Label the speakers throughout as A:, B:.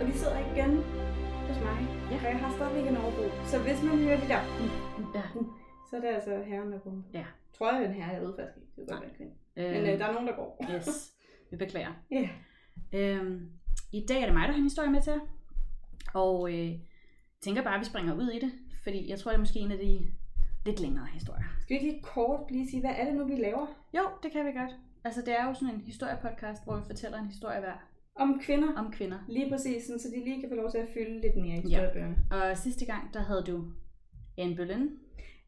A: Og de sidder igen hos mig.
B: Ja.
A: Og jeg har stadigvæk en overbo. Så hvis man hører de der, "Mm",
B: Ja.
A: så er det altså herren, der kommer.
B: Ja.
A: Tror jeg, det er en herre, jeg ved faktisk ikke. Det kan godt være en kvinde.
B: Øh,
A: Men øh, der er nogen, der går.
B: Yes, vi beklager.
A: Ja.
B: Øhm, I dag er det mig, der har en historie med til jer. Og øh, tænker bare, at vi springer ud i det. Fordi jeg tror, det er måske en af de lidt længere historier.
A: Skal vi ikke lige kort lige sige, hvad er det nu, vi laver?
B: Jo, det kan vi godt. Altså, det er jo sådan en historiepodcast, hvor vi fortæller en historie hver
A: Om kvinder.
B: om kvinder.
A: Lige præcis, sådan, så de lige kan få lov til at fylde lidt mere i historiebøgerne.
B: Og sidste gang, der havde du Anne Bøllen.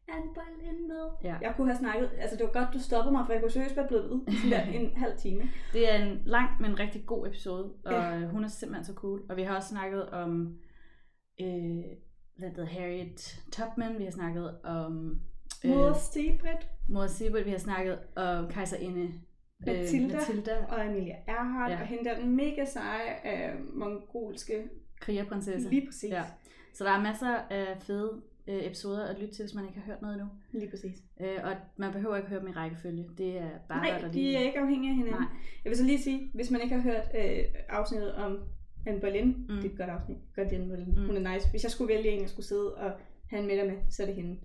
A: Er en bolden med?
B: Ja.
A: Jeg kunne have snakket, altså det var godt, du stoppede mig, for jeg kunne seriøst være blevet ved i sådan der en halv time.
B: Det er en lang, men rigtig god episode, og ja. hun er simpelthen så cool. Og vi har også snakket om, øh, hvad hedder Harriet Tubman, vi har snakket om
A: Moder Stebrit
B: Mor Sibel, vi har snakket om kejserinde øh,
A: Mathilda.
B: Mathilda
A: og Amelia Earhart,
B: Ja.
A: ja. og hende der den mega seje øh, mongolske.
B: krigerprinsesse.
A: Lige præcis.
B: Ja. Så der er masser af fede øh, episoder at lytte til, hvis man ikke har hørt noget endnu.
A: Lige præcis.
B: Øh, og man behøver ikke høre dem i rækkefølge. Det er bare
A: Nej,
B: godt
A: de
B: at lige-
A: er ikke afhængige af hinanden.
B: Nej.
A: Nej. Jeg vil så lige sige, hvis man ikke har hørt øh, afsnittet om Anne Boleyn, mm. det er et godt afsnit, godt Anne Boleyn,
B: Mm.
A: mm. hun er nice. Hvis jeg skulle vælge en, jeg skulle sidde og have en middag med, så er det hende.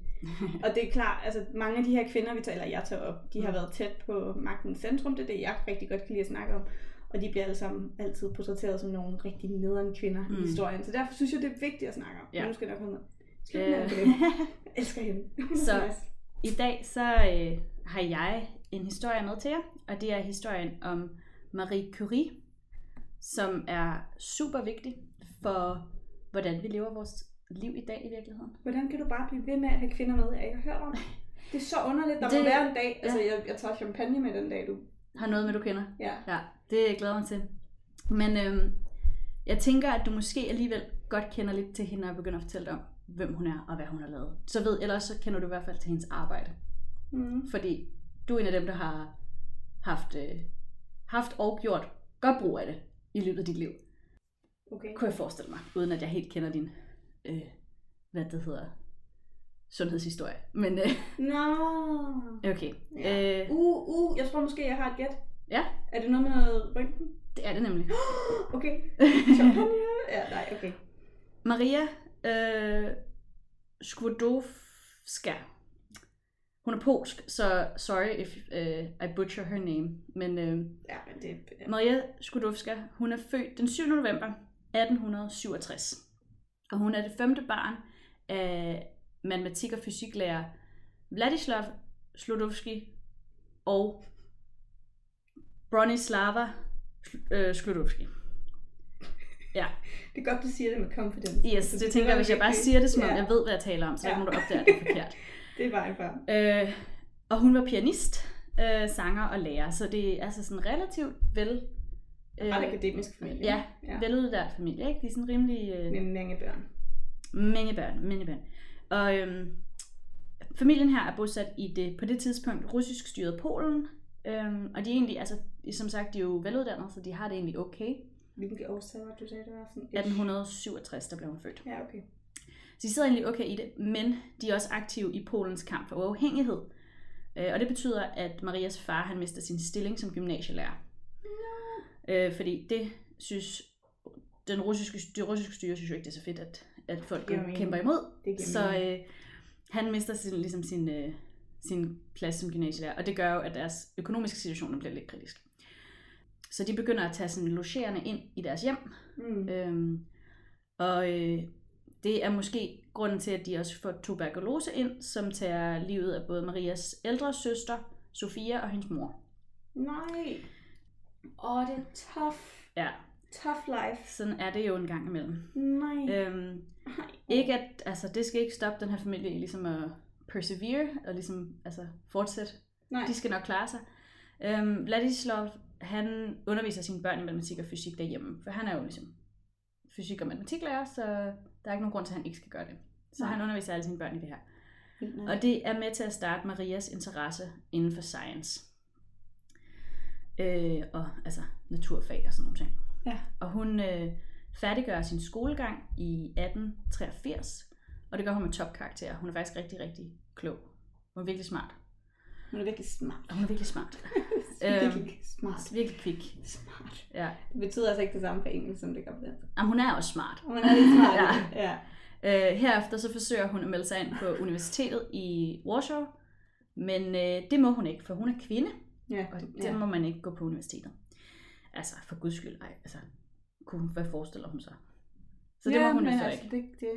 A: og det er klart, altså mange af de her kvinder, vi taler, jeg tager op, de har
B: Mm.
A: været tæt på magtens centrum, det er det, jeg rigtig godt kan lide at snakke om. Og de bliver alle sammen altid portrætteret som nogle rigtig nederen kvinder mm.
B: Mm.
A: i historien. Så derfor synes jeg, det er vigtigt at snakke om.
B: Ja.
A: Ja. Nu skal jeg nok holde med. Slut med
B: Øh,
A: Anne Boleyn. Jeg elsker hende. Hun er
B: Så-
A: nice.
B: I dag så øh, har jeg en historie med til jer, og det er historien om Marie Curie, som er super vigtig for, hvordan vi lever vores liv i dag i virkeligheden.
A: Hvordan kan du bare blive ved med at have kvinder med? Jeg ikke har hørt om det. Det er så underligt. Der det...
B: Det-
A: må være en dag. Altså, jeg, jeg tager champagne med den dag, du...
B: Har noget med, du kender?
A: Ja.
B: Ja, det glæder jeg mig til. Men øhm, jeg tænker, at du måske alligevel godt kender lidt til hende, når jeg begynder at fortælle dig om, hvem hun er og hvad hun har lavet. Så ved, ellers så kender du i hvert fald til hendes arbejde.
A: Mm.
B: Fordi du er en af dem, der har haft, øh, haft og gjort godt brug af det i løbet af dit liv.
A: Okay.
B: Kunne jeg forestille mig, uden at jeg helt kender din, øh, hvad det hedder, sundhedshistorie. Men øh,
A: Nå.
B: okay,
A: Ja.
B: øh,
A: Uh, uh, jeg tror måske, jeg har et gæt.
B: Ja.
A: Er det noget med noget røntgen?
B: det er det nemlig.
A: Okay. Champagne? ja, nej, okay.
B: Maria øh, Skłodowska. Hun er polsk, så sorry if øh, I butcher her name. Men øh,
A: Ja, men det... Ja.
B: Maria Skłodowska, hun er født den 7. november 1867. Og hun er det femte barn af matematik- og fysiklærer Vladislav Sludovski og Bronislava Sl- øh, Sludovski.
A: Det er godt, du siger det med confidence.
B: Yes,
A: Så
B: det tænker jeg,
A: var
B: hvis jeg bare
A: virkelig-
B: siger det, som om
A: ja,
B: jeg ved, hvad jeg taler om, så
A: Ja.
B: må du opdage, at det er forkert.
A: Det er vejen frem.
B: Øh, og hun var pianist, øh, sanger og lærer, så det er altså sådan relativt vel... Øh,
A: Ret akademisk familie.
B: ja,
A: ja.
B: veluddannet familie, ikke? De er sådan rimelig... Øh,
A: Med mange børn.
B: mange børn, mange børn. Og øhm, familien her er bosat i det på det tidspunkt russisk styret Polen, øhm, og de er egentlig, altså som sagt, de er jo veluddannede, så de har det egentlig okay.
A: Hvilket årstal var det, du sagde, det var sådan...
B: 1867, der blev hun født.
A: Ja, okay.
B: Så de sidder egentlig okay i det, men de er også aktive i Polens kamp for uafhængighed. Øh, Og det betyder, at Marias far han mister sin stilling som gymnasielærer. Øh, Fordi det synes den russiske, det russiske styre synes jo ikke, det er så fedt, at, at folk
A: giver mening.
B: kæmper imod.
A: Det giver
B: Så
A: mening.
B: øh, han mister sin, ligesom sin, øh, sin plads som gymnasielærer, og det gør jo, at deres økonomiske situation bliver lidt kritisk. Så de begynder at tage sådan logerende ind i deres hjem,
A: Mm.
B: Øhm, og øh, det er måske grunden til, at de også får tuberkulose ind, som tager livet af både Marias ældre søster, Sofia og hendes mor.
A: Nej. Åh, det er tough.
B: Ja,
A: Tough life.
B: sådan er det jo en gang imellem.
A: Nej.
B: Øhm, ikke at, altså, det skal ikke stoppe den her familie i ligesom at persevere og ligesom, altså, fortsætte.
A: Nej.
B: De skal nok klare sig. Øhm, Vladislav, han underviser sine børn i matematik og fysik derhjemme, for han er jo ligesom fysik- og matematiklærer, så der er ikke nogen grund til, at han ikke skal gøre det. Så
A: Nej.
B: han underviser alle sine børn i det her. Og det er med til at starte Marias interesse inden for science. Øh, og altså naturfag og sådan nogle ting.
A: Ja.
B: Og hun øh, færdiggør sin skolegang i 1883, og det gør hun med topkarakter. Hun er faktisk rigtig, rigtig klog. Hun er virkelig smart.
A: Hun er virkelig smart.
B: Og hun er virkelig smart.
A: Virkelig
B: øhm,
A: smart.
B: Virkelig kvik.
A: Smart.
B: Ja.
A: Det betyder altså ikke det samme på engelsk, som det gør på dansk.
B: Jamen, hun er også smart.
A: Hun er lidt smart.
B: Ja.
A: ja. ja.
B: Øh, herefter så forsøger hun at melde sig ind på universitetet i Warsaw, men øh, det må hun ikke, for hun er kvinde,
A: ja.
B: og det
A: ja.
B: må man ikke gå på universitetet. Altså, for guds skyld, ej, altså, kunne, hun- hvad forestiller hun sig? Så det
A: ja,
B: må hun
A: men
B: jo så
A: altså,
B: ikke.
A: Det, det,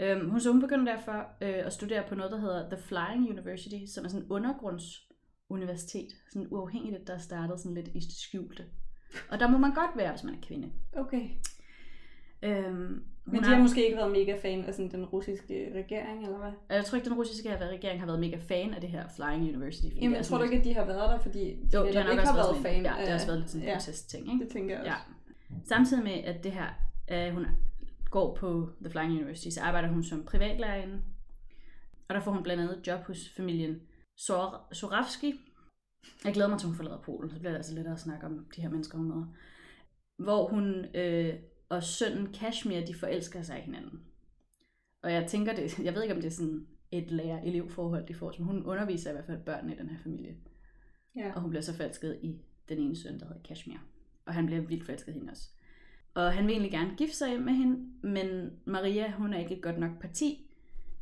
B: Øhm, hun, så hun begynder derfor øh, at studere på noget, der hedder The Flying University, som er sådan en undergrundsuniversitet, sådan uafhængigt, der er startet sådan lidt i det skjulte. Og der må man godt være, hvis man er kvinde.
A: okay.
B: Øhm, hun
A: Men de har måske ikke været mega fan af sådan den russiske regering, eller hvad?
B: Og Jeg tror ikke, den russiske regering har været mega fan af det her Flying University. fordi
A: Jamen,
B: det er
A: jeg tror
B: sådan
A: du
B: lidt-
A: ikke, at de har været der, fordi de
B: Jo,
A: netop
B: det har nok
A: ikke
B: også
A: har
B: været,
A: været
B: sådan
A: fan
B: en, ja, det har også været lidt sådan en
A: ja.
B: protestting, ikke?
A: Det tænker jeg
B: Ja.
A: også.
B: Samtidig med, at det her, øh, hun går på The Flying University, så arbejder hun som privatlærerinde. Og der får hun blandt andet job hos familien Sor- Soravski. Jeg glæder mig til, hun forlader Polen. Så bliver det altså lettere at snakke om de her mennesker, hun møder. Hvor hun øh, og sønnen Kashmir, de forelsker sig i hinanden. Og jeg tænker det, jeg ved ikke, om det er sådan et lærer-elev-forhold, de får, men hun underviser i hvert fald børnene i den her familie.
A: Ja.
B: Og hun bliver så forelsket i den ene søn, der hedder Kashmir. Og han bliver vildt forelsket i hende også. Og han vil egentlig gerne gifte sig med hende, men Maria, hun er ikke et godt nok parti,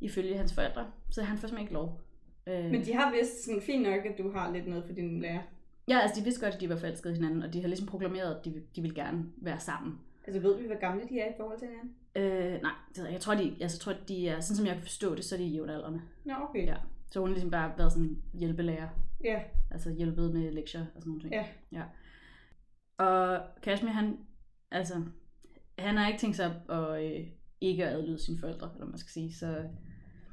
B: ifølge hans forældre. Så han får simpelthen ikke lov. Øh,
A: Men de har vist sådan fint nok, at du har lidt noget for din lærer.
B: Ja, altså de vidste godt, at de var forelskede i hinanden, og de har ligesom proklameret, at de, de ville gerne være sammen.
A: Altså ved vi, hvor gamle de er i forhold til hinanden?
B: Øh, nej, det ved jeg, ikke. jeg tror, de, altså, jeg tror, de er, sådan som jeg kan forstå det, så er de jævnaldrende.
A: Nå, okay.
B: Ja. Så hun har ligesom bare været sådan hjælpelærer.
A: ja.
B: Altså hjælpet med lektier og sådan nogle ting.
A: Ja.
B: ja. Og Kashmir, han, altså, han har ikke tænkt sig op og øh, ikke at adlyde sine forældre, eller hvad man skal sige. Så,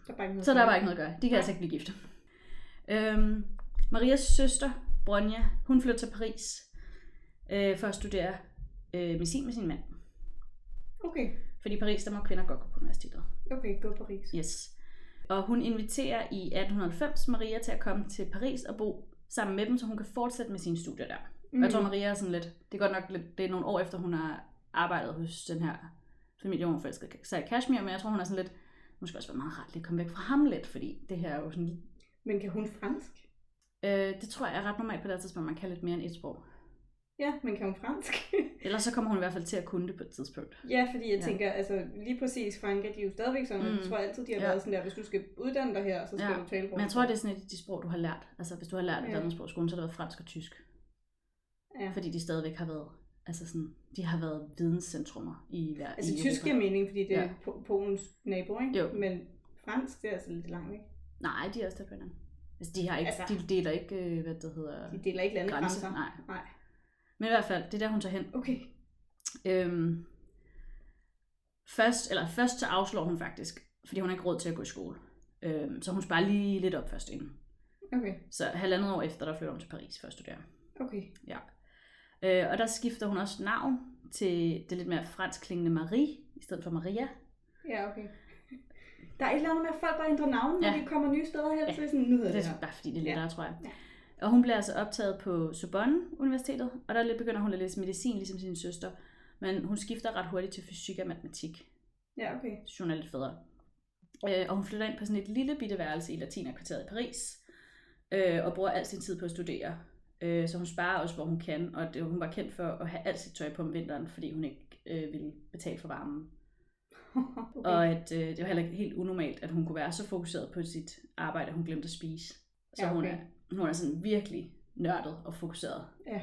A: Der er bare ikke noget
B: så der
A: for
B: er bare
A: det.
B: ikke noget at gøre. De kan altså ikke blive gift. Øhm, Marias søster, Bronja, hun flytter til Paris øh, for at studere øh, medicin med sin mand.
A: Okay,
B: Fordi i Paris, der må kvinder godt gå på universitetet.
A: okay, gå Paris.
B: Yes. Og hun inviterer i 1890 Maria til at komme til Paris og bo sammen med dem, så hun kan fortsætte med sine studier der. Mm. Og jeg tror, Maria er sådan lidt, det er godt nok lidt, det er nogle år efter, hun har arbejdet hos den her familie, hvor hun forelskede sig i Kashmir, men jeg tror, hun er sådan lidt, måske også være meget rart lige at komme væk fra ham lidt, fordi det her er jo sådan,
A: Men kan hun fransk?
B: øh, det tror jeg er ret normalt på det her tidspunkt, man kan lidt mere end et sprog.
A: Ja, men kan hun fransk?
B: Ellers så kommer hun i hvert fald til at kunne det på et tidspunkt.
A: ja, fordi jeg
B: Ja.
A: tænker, altså lige præcis Frankrig, de er jo stadigvæk sådan, mm. jeg
B: Mm.
A: tror altid, de har
B: Ja.
A: ja. været sådan der, hvis du skal uddanne dig her, så skal
B: Ja,
A: ja. du tale
B: Men jeg tror, det er sådan et af de sprog, du har lært. Altså, hvis du har lært et
A: Ja.
B: andet sprog i skolen, så har det været fransk og tysk.
A: Ja.
B: Fordi de stadigvæk har været, altså sådan, de har været videnscentrumer i hver
A: Altså
B: i
A: tysk giver
B: Europa.
A: mening, fordi det er
B: Ja.
A: Po- Polens nabo, ikke?
B: Jo.
A: Men fransk, det er altså lidt langt, ikke?
B: Nej, de er også der Altså, de, har ikke,
A: Altså-
B: altså, de deler ikke, øh, hvad det hedder...
A: De deler ikke landegrænser.
B: grænse. Nej.
A: Nej.
B: Men i hvert fald, det er der, hun tager hen.
A: Okay.
B: Øhm, først, eller først så afslår hun faktisk, fordi hun har ikke råd til at gå i skole. Øhm, så hun sparer lige lidt op først inden.
A: Okay.
B: Så halvandet år efter, der flytter hun til Paris for at studere.
A: Okay.
B: Øh, og der skifter hun også navn til det lidt mere fransk klingende Marie, i stedet for Maria.
A: Ja, okay. Der er et eller andet med, at folk bare ændrer navne, når
B: Ja.
A: de kommer nye steder hen,
B: Ja.
A: så er det sådan, nu hedder
B: Det
A: det
B: er
A: her.
B: bare fordi, det er lettere, tror jeg.
A: Ja.
B: Og hun bliver altså optaget på Sorbonne Universitetet, og der begynder hun at læse medicin, ligesom sin søster. Men hun skifter ret hurtigt til fysik og matematik.
A: Ja, okay.
B: synes hun er lidt federe. Øh, og hun flytter ind på sådan et lille bitte værelse i latinerkvarteret i Paris, øh, og bruger al sin tid på at studere. Øh, så hun sparer også, hvor hun kan, og det, hun var kendt for at have alt sit tøj på om vinteren, fordi hun ikke øh, ville betale for varmen.
A: okay.
B: Okay. Og at øh, det var heller ikke helt unormalt, at hun kunne være så fokuseret på sit arbejde, at hun glemte at spise. Så
A: Ja,
B: ja, okay. hun,
A: okay.
B: er, hun er sådan virkelig nørdet og fokuseret.
A: Ja.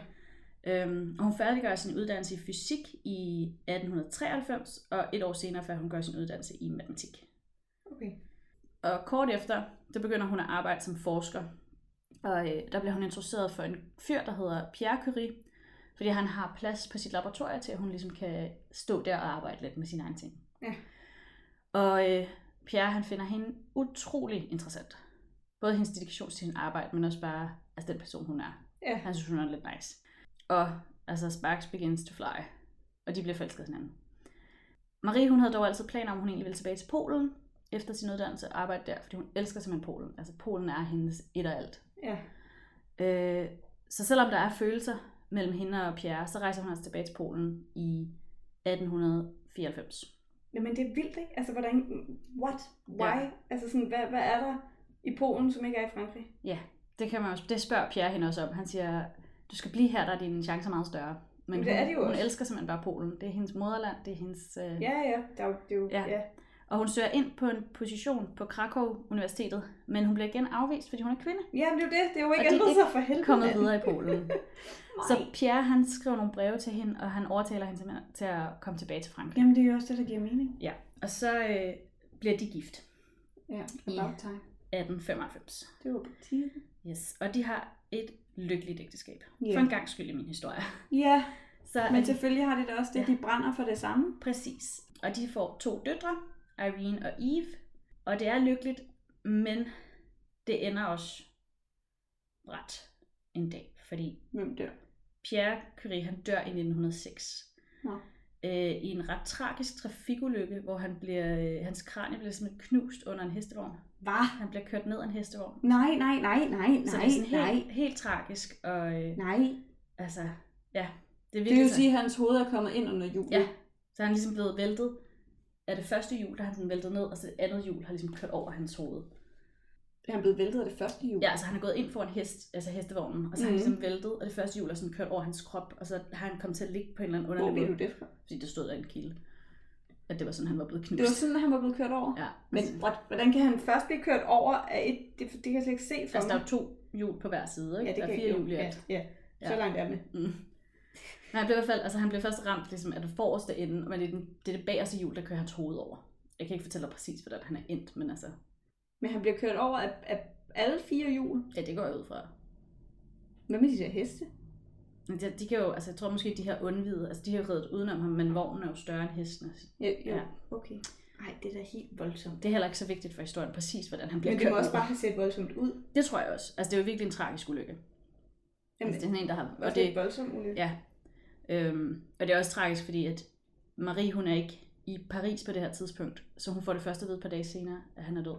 B: Øhm, og hun færdiggør sin uddannelse i fysik i 1893, og et år senere før hun gør sin uddannelse i matematik.
A: Okay.
B: Og kort efter, der begynder hun at arbejde som forsker. Og øh, der bliver hun introduceret for en fyr, der hedder Pierre Curie, fordi han har plads på sit laboratorium til, at hun ligesom kan stå der og arbejde lidt med sine egne ting.
A: Ja.
B: Og øh, Pierre, han finder hende utrolig interessant. Både hendes dedikation til sin arbejde, men også bare altså den person, hun er.
A: Ja.
B: Han synes, hun er lidt nice. Og altså, Sparks begins to fly. Og de bliver forelsket i hinanden. Marie, hun havde dog altid planer om, at hun egentlig ville tilbage til Polen efter sin uddannelse og arbejde der, fordi hun elsker simpelthen Polen. Altså, Polen er hendes et og alt.
A: Ja.
B: Øh, så selvom der er følelser mellem hende og Pierre, så rejser hun altså tilbage til Polen i 1894.
A: Jamen, det er vildt, ikke? Altså, hvordan... What? Why? Ja. Altså, sådan, hvad, hvad er der i Polen, som ikke er i Frankrig?
B: Ja, det kan man også. Det spørger Pierre hende også om. Han siger, du skal blive her, der er dine chancer meget større. Men
A: Men det er
B: hun,
A: de jo
B: hun
A: også.
B: elsker simpelthen bare Polen. Det er hendes moderland, det er hendes... Øh,
A: Ja, ja, der er jo, det er jo,
B: Ja.
A: ja. ja.
B: Og hun søger ind på en position på Krakow Universitetet, men hun bliver igen afvist, fordi hun er kvinde.
A: Jamen, det er jo det. Det er jo
B: Og
A: ikke
B: de er
A: ændret
B: ikke
A: sig for helvede.
B: Kommet videre i Polen. Så
A: Så...
B: Pierre, han skriver nogle breve til hende, og han overtaler hende simpelthen til at komme tilbage til Frankrig.
A: Jamen, det er jo også det, der giver mening.
B: Ja, og så øh, bliver de gift
A: Ja,
B: Ja.
A: about time.
B: 1895.
A: Det var på tide.
B: Yes, og de har et lykkeligt ægteskab.
A: Ja.
B: For en gang skyld i min historie.
A: Ja,
B: Så er
A: men
B: de,
A: selvfølgelig har de da også det.
B: Ja.
A: De brænder for det samme.
B: præcis. Og de får to døtre, Irene og Eve. Og det er lykkeligt, men det ender også ret en dag, fordi
A: Hvem dør?
B: Pierre Curie, han dør i 1906.
A: Nå.
B: Øh, I en ret tragisk trafikulykke, hvor han bliver, øh, hans kranie bliver simpelthen knust under en hestevogn.
A: Hvad?
B: Han bliver kørt ned af en hestevogn.
A: Nej, nej, nej, nej,
B: så
A: nej,
B: det er sådan
A: nej,
B: helt, helt tragisk, og øh,
A: nej.
B: altså, ja, det er
A: Det vil
B: virkelig
A: jo
B: sådan.
A: sige, at hans hoved er kommet ind under julen.
B: Ja, så er han ligesom blevet væltet. Af det første hjul, der er han sådan væltet ned, og så det andet hjul har ligesom kørt over hans hoved.
A: Er han blevet væltet af det første jul?
B: Ja, så han er gået ind foran hest, altså hestevognen, og så har han
A: Mhm.
B: ligesom væltet, og det første hjul er sådan kørt over hans krop, og så har han kommet til at ligge på en eller anden
A: Hvor
B: underlig
A: ved du
B: måde.
A: det fra?
B: fordi der stod der en kilde. At det var sådan, han var blevet knust.
A: Det var sådan, at han var blevet kørt over.
B: Ja, altså,
A: Men
B: men
A: what- hvordan kan han først blive kørt over af et... Det, det kan jeg slet ikke se for
B: altså, der er
A: mig.
B: jo to hjul på hver side, ikke?
A: Ja, det
B: der er
A: kan
B: fire
A: jeg jo.
B: hjul i
A: ja,
B: alt.
A: ja. Så
B: Ja.
A: langt er den.
B: Mm. Men han blev i hvert fald, altså han blev først ramt ligesom af det forreste ende, men det er, den, det er det bagerste hjul, der kører hans hoved over. Jeg kan ikke fortælle dig præcis, hvordan han er endt, men altså,
A: Men han bliver kørt over af, af alle fire hjul.
B: ja, det går jeg ud fra.
A: Hvad med de der heste?
B: Men De, de kan jo, altså jeg tror måske, de her undvide, altså de har jo reddet udenom ham, men vognen er jo større end hesten. altså.
A: Ja, jo.
B: Ja.
A: ja. okay. Nej, det er da helt voldsomt.
B: Det er heller ikke så vigtigt for historien, præcis hvordan han bliver
A: Men det må
B: kørt
A: også
B: over.
A: bare have set voldsomt ud.
B: Det tror jeg også. Altså det er jo virkelig en tragisk ulykke.
A: Jamen,
B: Altså, det er sådan en, der har...
A: Og det er et voldsomt ulykke.
B: Ja. Øhm, og det er også tragisk, fordi at Marie, hun er ikke i Paris på det her tidspunkt, så hun får det første ved et par dage senere, at han er død.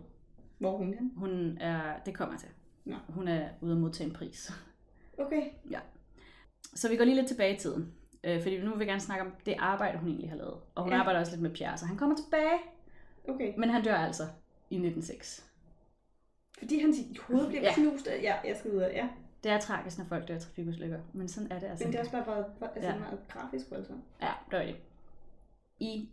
A: Hvor er hun hen?
B: Hun er, det kommer jeg til.
A: Nå.
B: Hun er ude at modtage en pris.
A: Okay.
B: Så vi går lige lidt tilbage i tiden, øh, fordi nu vil vi gerne snakke om det arbejde, hun egentlig har lavet. Og hun ja.
A: Ja.
B: arbejder også lidt med Pierre, så han kommer tilbage,
A: Okay.
B: men han dør altså i 1906.
A: Fordi hans hoved bliver
B: Ja.
A: ja. knust af... Ja, jeg skal ud af... Ja.
B: Det er tragisk, når folk dør i trafikudslykker, men sådan er det altså.
A: Men det er også bare meget, altså
B: Ja.
A: ja. meget grafisk voldsomt.
B: Ja, det var det. I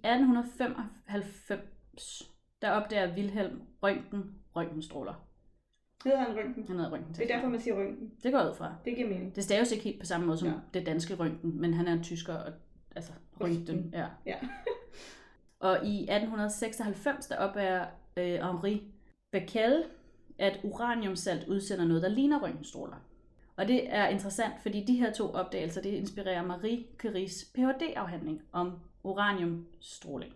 B: 1895, der opdager Wilhelm Røntgen røntgenstråler.
A: Hedder han røntgen?
B: Han havde røntgen
A: Det er derfor, man siger røntgen.
B: Det går jeg ud fra.
A: Det giver mening.
B: Det staves ikke helt på samme måde som ja.
A: Ja.
B: det danske røntgen, men han er en tysker, og, altså røntgen,
A: Røntgen.
B: ja.
A: Ja.
B: Og i 1896, der opdager øh, Henri Becquerel, at uraniumsalt udsender noget, der ligner røntgenstråler. Og det er interessant, fordi de her to opdagelser, det inspirerer Marie Curie's Ph.D.-afhandling om uraniumstråling.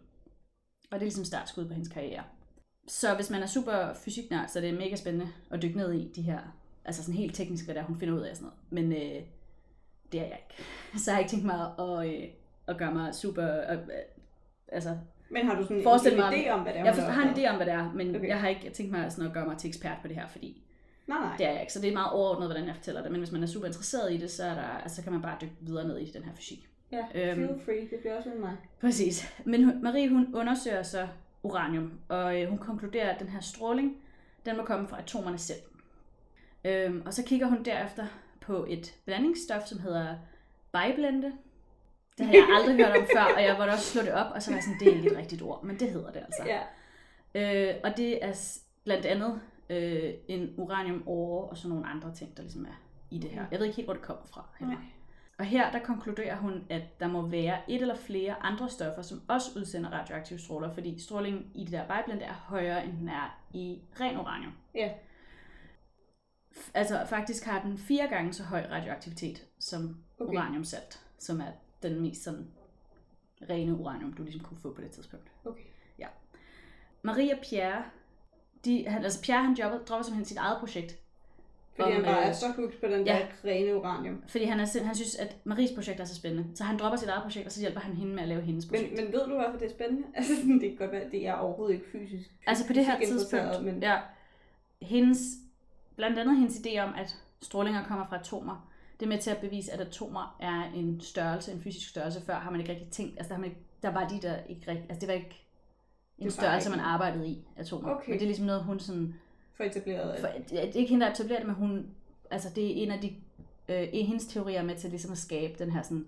B: Og det er ligesom startskud på hendes karriere. Så hvis man er super fysiknær, så er det mega spændende at dykke ned i de her, altså sådan helt teknisk, hvad det er, hun finder ud af og sådan noget. Men øh, det er jeg ikke. Så jeg har ikke tænkt mig at, øh, at gøre mig super, øh, øh, altså
A: Men har du sådan
B: Forestil
A: en
B: mig,
A: idé om, hvad det er,
B: jeg
A: hun
B: forstår,
A: har
B: har en
A: opdaget?
B: idé om, hvad det er, men okay.
A: Okay.
B: jeg har ikke tænkt mig sådan at gøre mig til ekspert på det her, fordi
A: Nej, nej.
B: det er jeg ikke. Så det er meget overordnet, hvordan jeg fortæller det. Men hvis man er super interesseret i det, så, er der, altså, så kan man bare dykke videre ned i den her fysik.
A: Ja,
B: Øhm.
A: feel free. Det bliver også uden mig.
B: Præcis. Men hun, Marie, hun undersøger så uranium, og øh, hun konkluderer, at den her stråling, den må komme fra atomerne selv. Øhm, og så kigger hun derefter på et blandingsstof, som hedder biblende. Det har jeg aldrig hørt om før, og jeg måtte også slå det op, og så var jeg sådan, det er ikke et rigtigt ord, men det hedder det altså.
A: Ja.
B: Øh, og det er s- blandt andet øh, en uranium og sådan nogle andre ting, der ligesom er i det her. Jeg ved ikke helt, hvor det kommer fra. Heller.
A: Nej.
B: Og her der konkluderer hun, at der må være et eller flere andre stoffer, som også udsender radioaktive stråler, fordi strålingen i det der biblend er højere, end den er i ren uranium.
A: Ja.
B: F- Altså faktisk har den fire gange så høj radioaktivitet som okay.
A: Okay.
B: uraniumsalt, som er den mest sådan rene uranium, du ligesom kunne få på det tidspunkt.
A: Okay.
B: Marie og Pierre, de, han, altså Pierre han jobber, dropper simpelthen sit eget projekt.
A: Fordi
B: Om,
A: han bare
B: øh,
A: er så hooked på den
B: ja.
A: der rene uranium.
B: Fordi han, er, sind- han synes, at Maries projekt er så spændende. Så han dropper sit eget projekt, og så hjælper han hende med at lave hendes
A: Men,
B: projekt.
A: men ved du, hvorfor det er spændende? Altså, sådan, det kan godt være, at det er overhovedet ikke fysisk.
B: altså på det her
A: fysisk interesseret,
B: tidspunkt,
A: Men,
B: men... ja, hendes, blandt andet hendes idé om, at strålinger kommer fra atomer, det er med til at bevise, at atomer er en størrelse, en fysisk størrelse. Før har man ikke rigtig tænkt, altså der, har man ikke, der var de der ikke rigtig, altså det var ikke en
A: var
B: størrelse,
A: ikke-
B: man arbejdede i, atomer.
A: Okay.
B: Men det er ligesom noget, hun sådan
A: for etableret.
B: For, det er ikke hende, der etablerer det, men hun, altså, det er en af de øh, i hendes teorier er med til ligesom at skabe den her sådan,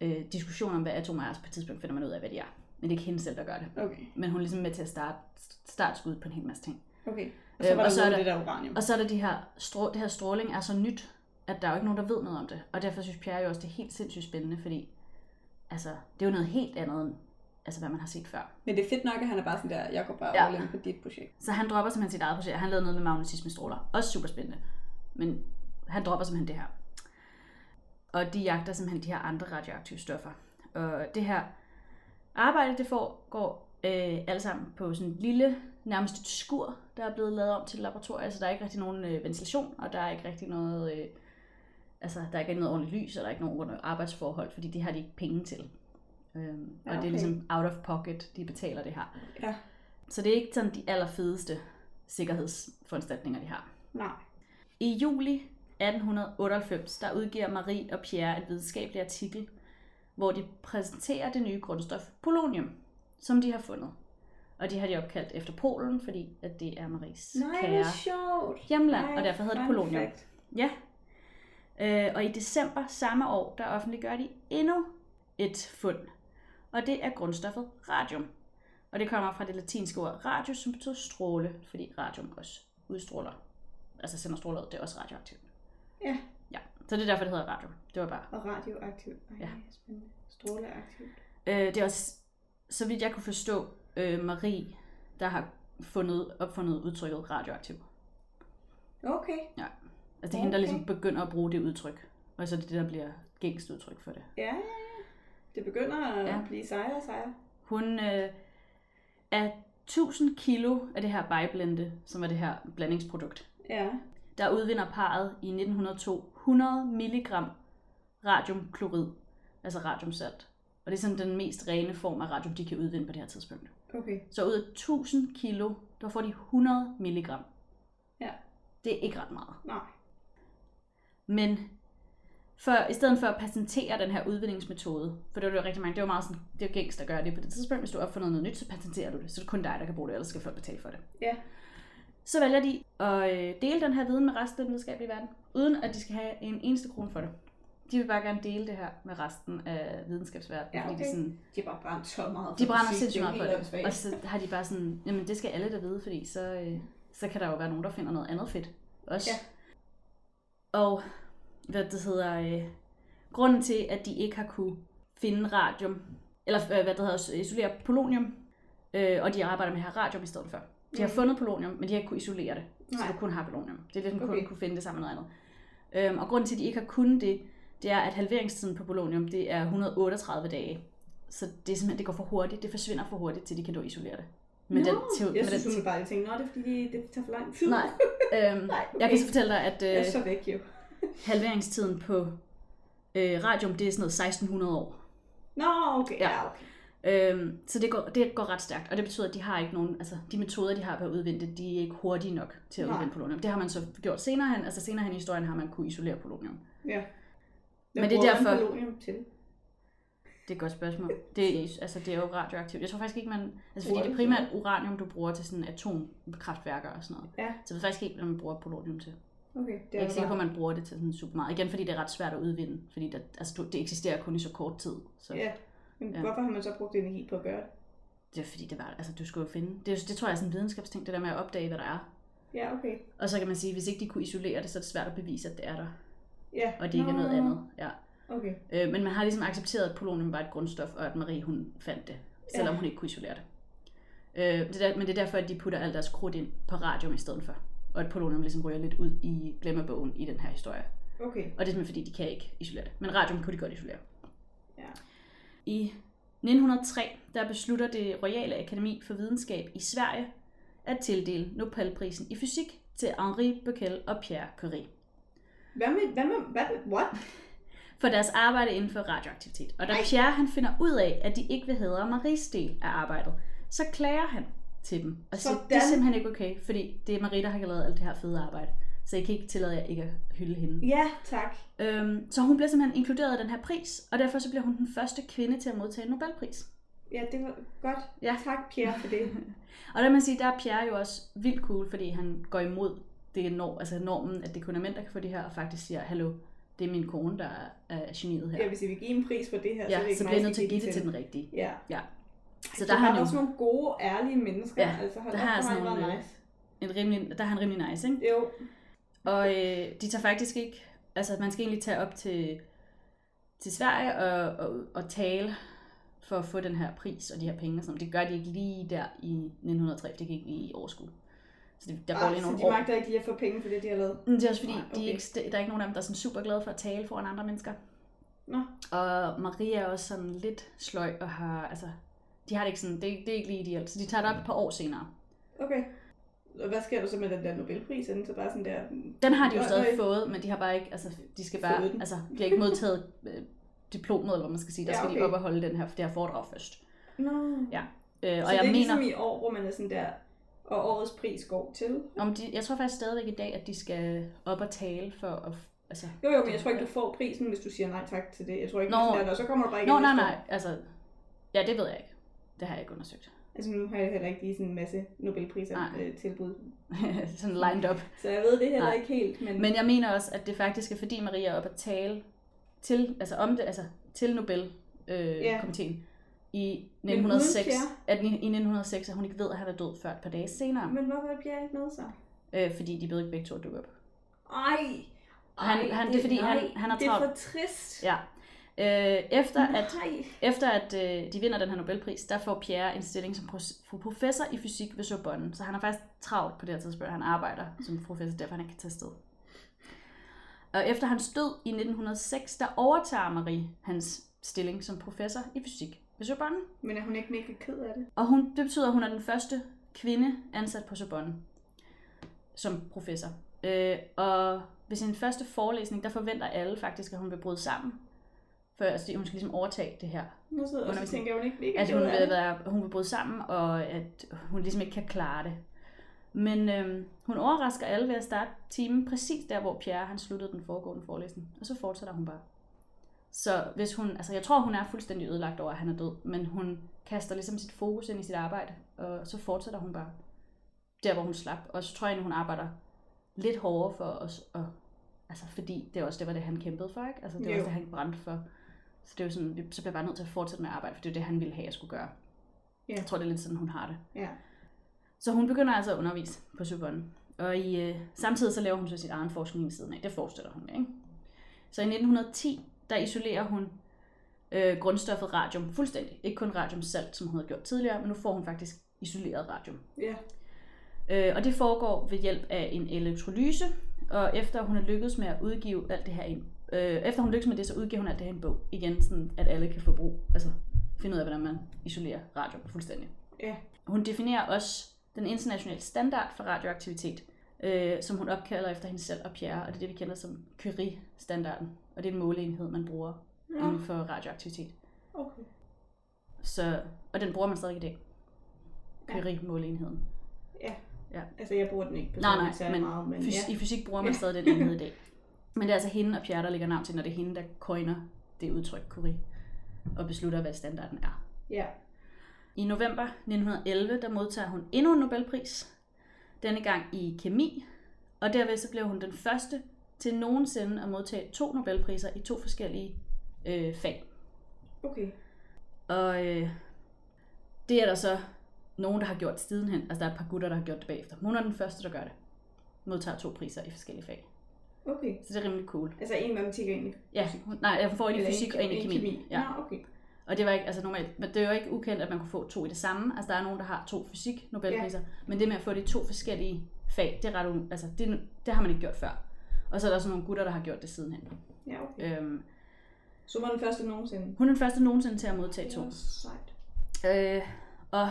B: øh, diskussion om, hvad atomer er, så på et tidspunkt finder man ud af, hvad de er. Men det er ikke hende selv, der gør det.
A: Okay,
B: Men hun er ligesom med til at starte, starte skuddet på en hel masse ting.
A: okay. Og så
B: Øh,
A: var
B: og
A: der
B: så
A: så
B: er
A: noget med det der uranium.
B: Og så er der de her, strå, det her stråling er så nyt, at der er jo ikke nogen, der ved noget om det. Og derfor synes Pierre jo også, det er helt sindssygt spændende, fordi altså, det er jo noget helt andet, end altså, hvad man har set før.
A: Men det er fedt nok, at han er bare sådan der, jeg går bare
B: Ja.
A: ja. all in på dit projekt.
B: Så han dropper simpelthen sit eget projekt. Han lavede noget med magnetismestråler. Også super spændende. Men han dropper simpelthen det her. Og de jagter simpelthen de her andre radioaktive stoffer. Og det her arbejde, det foregår øh, alle sammen på sådan en lille, nærmest et skur, der er blevet lavet om til et laboratorium. Så der er ikke rigtig nogen øh, ventilation, og der er ikke rigtig noget... Øh, altså, der er ikke noget ordentligt lys, og der er ikke nogen ordentlige arbejdsforhold, fordi det har de ikke penge til. Øhm,
A: Ja,
B: ja, okay. Og det
A: okay.
B: er ligesom out of pocket, de betaler det her.
A: Ja.
B: Så det er ikke sådan de allerfedeste sikkerhedsforanstaltninger, de har.
A: Nej.
B: I juli 1898, der udgiver Marie og Pierre et videnskabeligt artikel, hvor de præsenterer det nye grundstof polonium, som de har fundet. Og det har de opkaldt efter Polen, fordi at det er Maries
A: Nej, det
B: kære
A: er sjovt.
B: hjemland,
A: Nej,
B: og derfor hedder det
A: fun
B: polonium.
A: fact.
B: Ja. Øh, og i december samme år, der offentliggør de endnu et fund. Og det er grundstoffet radium. Og det kommer fra det latinske ord radio, som betyder stråle, fordi radium også udstråler. Altså sender stråler ud, det er også radioaktivt.
A: Ja,
B: Ja, så det er derfor, det hedder radium. Det var bare...
A: og radioaktivt. Ej,
B: Ja.
A: ja. spændende. Stråleaktivt.
B: Øh, det er også, så vidt jeg kunne forstå, øh, Marie, der har fundet, opfundet udtrykket radioaktiv.
A: Okay.
B: Ja. Altså det er hende,
A: Okay.
B: der ligesom begynder at bruge det udtryk. Og så er det det, der bliver gængst udtryk for det.
A: Ja, ja, ja. Det begynder at
B: Ja.
A: ja. blive sejere og sejere.
B: Hun øh, er 1000 kilo af det her bejblende, som er det her blandingsprodukt.
A: Ja.
B: Der udvinder parret i 1902 100 mg radiumklorid, altså radiumsalt. Og det er sådan den mest rene form af radium, de kan udvinde på det her tidspunkt.
A: Okay.
B: Så ud af 1000 kilo, der får de 100 mg.
A: Ja.
B: Det er ikke ret meget.
A: Nej.
B: Men for, i stedet for at patentere den her udvindingsmetode, for det var jo rigtig mange, det var meget sådan, det var gængs, der gør det på det tidspunkt, hvis du opfinder noget nyt, så patenterer du det, så er det kun dig, der kan bruge det, ellers skal folk betale for det.
A: Ja.
B: Så vælger de at øh, dele den her viden med resten af den videnskabelige verden, uden at de skal have en eneste krone for det. De vil bare gerne dele det her med resten af videnskabsverdenen,
A: Ja,
B: fordi
A: okay.
B: de, sådan,
A: De har bare brændt så meget. for
B: de brænder
A: musik,
B: sindssygt
A: er jo
B: meget for
A: helt
B: det.
A: åndssvagt.
B: Og så har de bare sådan, jamen det skal alle der vide, fordi så, øh, så kan der jo være nogen, der finder noget andet fedt også.
A: Ja.
B: Og hvad det hedder, øh, grunden til, at de ikke har kunne finde radium, eller øh, hvad det hedder, isolere polonium, øh, og de arbejder med her radium i stedet for. De har
A: Mhm.
B: fundet polonium, men de har ikke kunne isolere det, så
A: Nej.
B: de kun har polonium. Det er lidt, kun
A: Okay.
B: kunne finde det sammen med noget andet. Øhm, og grunden til, at de ikke har kunnet det, det er, at halveringstiden på polonium, det er 138 dage. Så det er simpelthen, det går for hurtigt, det forsvinder for hurtigt, til de kan nå at isolere det. Med den teo-
A: jeg
B: med
A: synes,
B: den
A: hun bare tænkte, at det er fordi, det- det tager for lang tid.
B: Nej, øhm,
A: Nej, okay.
B: jeg kan så fortælle dig, at... Øh,
A: Jeg er så væk jo.
B: halveringstiden på øh, radium, det er sådan noget 1600 år.
A: Nå, okay.
B: Ja.
A: Ja, okay.
B: Øhm, så det går, det går ret stærkt, og det betyder, at de har ikke nogen, altså de metoder, de har på at udvinde det, de er ikke hurtige nok til at
A: Nej.
B: udvinde polonium. Det har man så gjort senere hen, altså senere hen i historien har man kunne isolere polonium.
A: Ja.
B: Men det er
A: bruger
B: derfor-
A: man polonium til?
B: Det er et godt spørgsmål. Det er, altså, det er jo radioaktivt. Jeg tror faktisk ikke, man... Altså, fordi
A: Bruger
B: det
A: det
B: er primært uranium, du bruger til sådan atomkraftværker og sådan noget.
A: Ja.
B: Så jeg ved faktisk ikke, hvad man bruger polonium til.
A: Okay. Det
B: Jeg er ikke sikker på,
A: bare-
B: at man bruger det til sådan super meget. Igen, fordi det er ret svært at udvinde, fordi der, altså, du- det eksisterer kun i så kort tid. Så.
A: Ja. Men
B: Ja.
A: hvorfor har man så brugt energi på at gøre det?
B: Det er fordi, det var, altså, du skulle jo finde. Det, er, det tror jeg er sådan en videnskabsting, det der med at opdage, hvad der er.
A: Ja, okay.
B: Og så kan man sige, hvis ikke de kunne isolere det, så er det svært at bevise, at det er der.
A: Ja.
B: Og det ikke er
A: Nå.
B: noget andet. Ja.
A: Okay.
B: Øh, men man har ligesom accepteret, at polonium var et grundstof, og at Marie hun fandt det, selvom
A: Ja.
B: hun ikke kunne isolere det. Øh, det er der, men det er derfor, at de putter alt deres krudt ind på radium i stedet for. Og at polonium ligesom ryger lidt ud i glemmebogen i den her historie.
A: Okay.
B: Og det er simpelthen fordi, de kan ikke isolere det. Men radium kunne de godt isolere.
A: Ja.
B: I 1903, der beslutter det Royale Akademi for Videnskab i Sverige at tildele Nobelprisen i fysik til Henri Becquerel og Pierre Curie
A: Hvad med, hvad med, hvad med, what?
B: for deres arbejde inden for radioaktivitet. Og da
A: Ej.
B: Pierre han finder ud af, at de ikke vil hedre Maries del af arbejdet, så klager han til dem og siger, det er
A: Sådan.
B: simpelthen ikke okay, fordi det er Marie, der har lavet alt det her fede arbejde, så jeg kan ikke tillade jer ikke at hylde hende.
A: Ja, tak.
B: Øhm, så hun bliver simpelthen inkluderet i den her pris, og derfor så bliver hun den første kvinde til at modtage en Nobelpris.
A: Ja, det var godt.
B: Ja.
A: Tak, Pierre, for det.
B: Og der må man sige, der er Pierre jo også vildt cool, fordi han går imod det norm, altså normen, at det kun er mænd, der kan få det her, og faktisk siger, hallo, det er min kone, der er- er geniet her.
A: Ja, hvis I vil give en pris for det her, så er det
B: Ja,
A: ikke
B: så
A: mig,
B: bliver jeg
A: der
B: nødt til
A: skal
B: at give det til
A: den.
B: den rigtige.
A: Ja.
B: Ja. Så
A: Så
B: der
A: der
B: har
A: har
B: han jo
A: også nogle gode, ærlige mennesker.
B: Ja,
A: altså, hold
B: der
A: der
B: har
A: har
B: altså
A: sådan
B: nogle,
A: nogle...
B: øh,
A: Nice.
B: En rimelig, der er han rimelig nice, ikke?
A: Jo,
B: Og øh, de tager faktisk ikke, altså man skal egentlig tage op til, til Sverige og, og, og tale for at få den her pris og de her penge og sådan noget. Det gør de ikke lige der i 1903, for det kan ikke lige overskue. Så det, der går
A: ah,
B: lige
A: så
B: nogle
A: de
B: år.
A: magter ikke lige at få penge for det, de har lavet.
B: Men Det er også fordi,
A: Nej,
B: de er
A: okay.
B: ikke, der er ikke nogen af dem, der er sådan super glade for at tale foran andre mennesker.
A: Nå.
B: Og Maria er også sådan lidt sløj og har, altså, de har det ikke sådan, det, det er ikke lige ideelt. Så de tager det op et par år senere.
A: Okay. Og hvad sker der så med den der Nobelpris? Er den så bare sådan der... mm.
B: Den har de jo
A: Nå,
B: stadig
A: nej.
B: fået, men de har bare ikke, altså, de skal bare,
A: Fået den.
B: altså, de har ikke modtaget øh, diplomet, eller hvad man skal sige. Der
A: Ja,
B: skal de
A: okay.
B: op og holde den her, det her foredrag først.
A: Nå.
B: Ja, Øh,
A: Så
B: og
A: det
B: jeg
A: er
B: mener,
A: ligesom i år, hvor man er sådan der... Og årets pris går til.
B: om de, jeg tror faktisk stadigvæk i dag, at de skal op og tale for at, altså,
A: Jo, jo, men jeg tror ikke, du får prisen, hvis du siger nej tak til det. Jeg tror ikke,
B: Nå.
A: Nå. Sådan der, og så kommer du bare ikke
B: Nå, nej, nej, altså, ja, det ved jeg ikke. Det har jeg ikke undersøgt.
A: Altså nu har jeg heller ikke lige sådan en masse Nobelpriser
B: Nej.
A: øh, tilbud.
B: Sådan lined up.
A: Så jeg ved det heller
B: Nej.
A: ikke helt, men,
B: Men jeg mener også, at det faktisk er fordi Maria er oppe at tale til, altså om det, altså til Nobelkomiteen øh,
A: Ja.
B: komiteen i
A: Men uden
B: 1906,
A: Pierre?
B: at, i 1906, at hun ikke ved, at han er død før et par dage senere,
A: men hvorfor er Pierre ikke med så?
B: øh, fordi de ved ikke begge to at dukke op.
A: Ej,
B: Han-
A: Ej,
B: han- det er fordi,
A: nej,
B: han- han har
A: Det er
B: travlt.
A: for trist.
B: Ja. Øh, efter at,
A: Nej.
B: efter at øh, de vinder den her Nobelpris, der får Pierre en stilling som pros- fru professor i fysik ved Sorbonne, så han er faktisk travlt på det her tidspunkt, han arbejder som professor, derfor han ikke kan tage sted. Og efter hans død i 1906, der overtager Marie hans stilling som professor i fysik ved Sorbonne.
A: Men er hun ikke mega ked af det?
B: Og hun, det betyder, at hun er den første kvinde ansat på Sorbonne som professor. Øh, og ved sin første forelæsning, der forventer alle faktisk, at hun vil bryde sammen. For altså, hun skal ligesom overtage det her.
A: Nu sidder jeg også og
B: Undervisning.
A: tænker, er hun ikke mega
B: At
A: ked
B: Altså, hun
A: af
B: vil,
A: det?
B: være, hun vil bryde sammen, og at hun ligesom ikke kan klare det. Men øh, hun overrasker alle ved at starte timen præcis der, hvor Pierre han sluttede den foregående forelæsning. Og så fortsætter hun bare. Så hvis hun, altså jeg tror, hun er fuldstændig ødelagt over, at han er død, men hun kaster ligesom sit fokus ind i sit arbejde, og så fortsætter hun bare der, hvor hun slap. Og så tror jeg egentlig, hun arbejder lidt hårdere for os, og, altså fordi det er også det, var det, han kæmpede for, ikke? Altså det var
A: Jo.
B: også det, han brændte for. Så det er jo sådan, vi- så bliver jeg bare nødt til at fortsætte med at arbejde, for det er jo det, han ville have, jeg skulle gøre.
A: Ja.
B: Jeg tror, det er lidt sådan, hun har det.
A: Ja.
B: Så hun begynder altså at undervise på Sorbonne. Og i, øh, samtidig så laver hun så sit egen forskning ved siden af. Det fortsætter hun med, ikke? Så i 1910, der isolerer hun øh, grundstoffet radium fuldstændig. Ikke kun radiumsalt, som hun havde gjort tidligere, men nu får hun faktisk isoleret radium.
A: Ja.
B: Øh, og det foregår ved hjælp af en elektrolyse, og efter hun er lykkedes med at udgive alt det her i en, øh, efter hun lykkes med det, så udgiver hun alt det her i en bog. Igen, sådan at alle kan få brug, altså finde ud af, hvordan man isolerer radium fuldstændig.
A: Ja.
B: Hun definerer også den internationale standard for radioaktivitet, øh, som hun opkalder efter hende selv og Pierre, og det er det, vi kender som Curie-standarden. Og det er en måleenhed, man bruger
A: Nå,
B: inden for radioaktivitet.
A: okay.
B: Så, og den bruger man stadig i dag. Curie-måleenheden.
A: Altså, jeg bruger den ikke
B: Nej, nej,
A: personligt særlig
B: men
A: meget, men
B: Fys-
A: ja.
B: I fysik bruger man stadig den enhed i dag. Men det er altså hende og Pierre, der lægger navn til, når det er hende, der coiner det udtryk Curie, og beslutter, hvad standarden er.
A: ja.
B: I november 1911, der modtager hun endnu en Nobelpris, denne gang i kemi, og derved så blev hun den første til nogensinde at modtage to Nobelpriser i to forskellige øh, fag.
A: Okay.
B: Og øh, det er der så nogen, der har gjort sidenhen. Altså, der er et par gutter, der har gjort det bagefter. Hun er den første, der gør det. Modtager to priser i forskellige fag.
A: Okay.
B: Så det er rimelig cool.
A: Altså, en matematik og en
B: Ja, hun, nej, jeg får en i
A: eller
B: fysik og en i kemi.
A: Ja.
B: Ja.
A: Nå, okay.
B: Og det var ikke, altså normalt, men det er jo ikke ukendt, at man kunne få to i det samme. Altså, der er nogen, der har to fysik Nobelpriser, ja. men det med at få det i to forskellige fag, det, er ret, u- altså, det, det har man ikke gjort før. Og så er der sådan nogle gutter, der har gjort det sidenhen.
A: Ja, okay.
B: Øhm,
A: Så var den første nogensinde.
B: hun er den første nogensinde til at modtage
A: Det
B: to.
A: var sejt.
B: Øh, og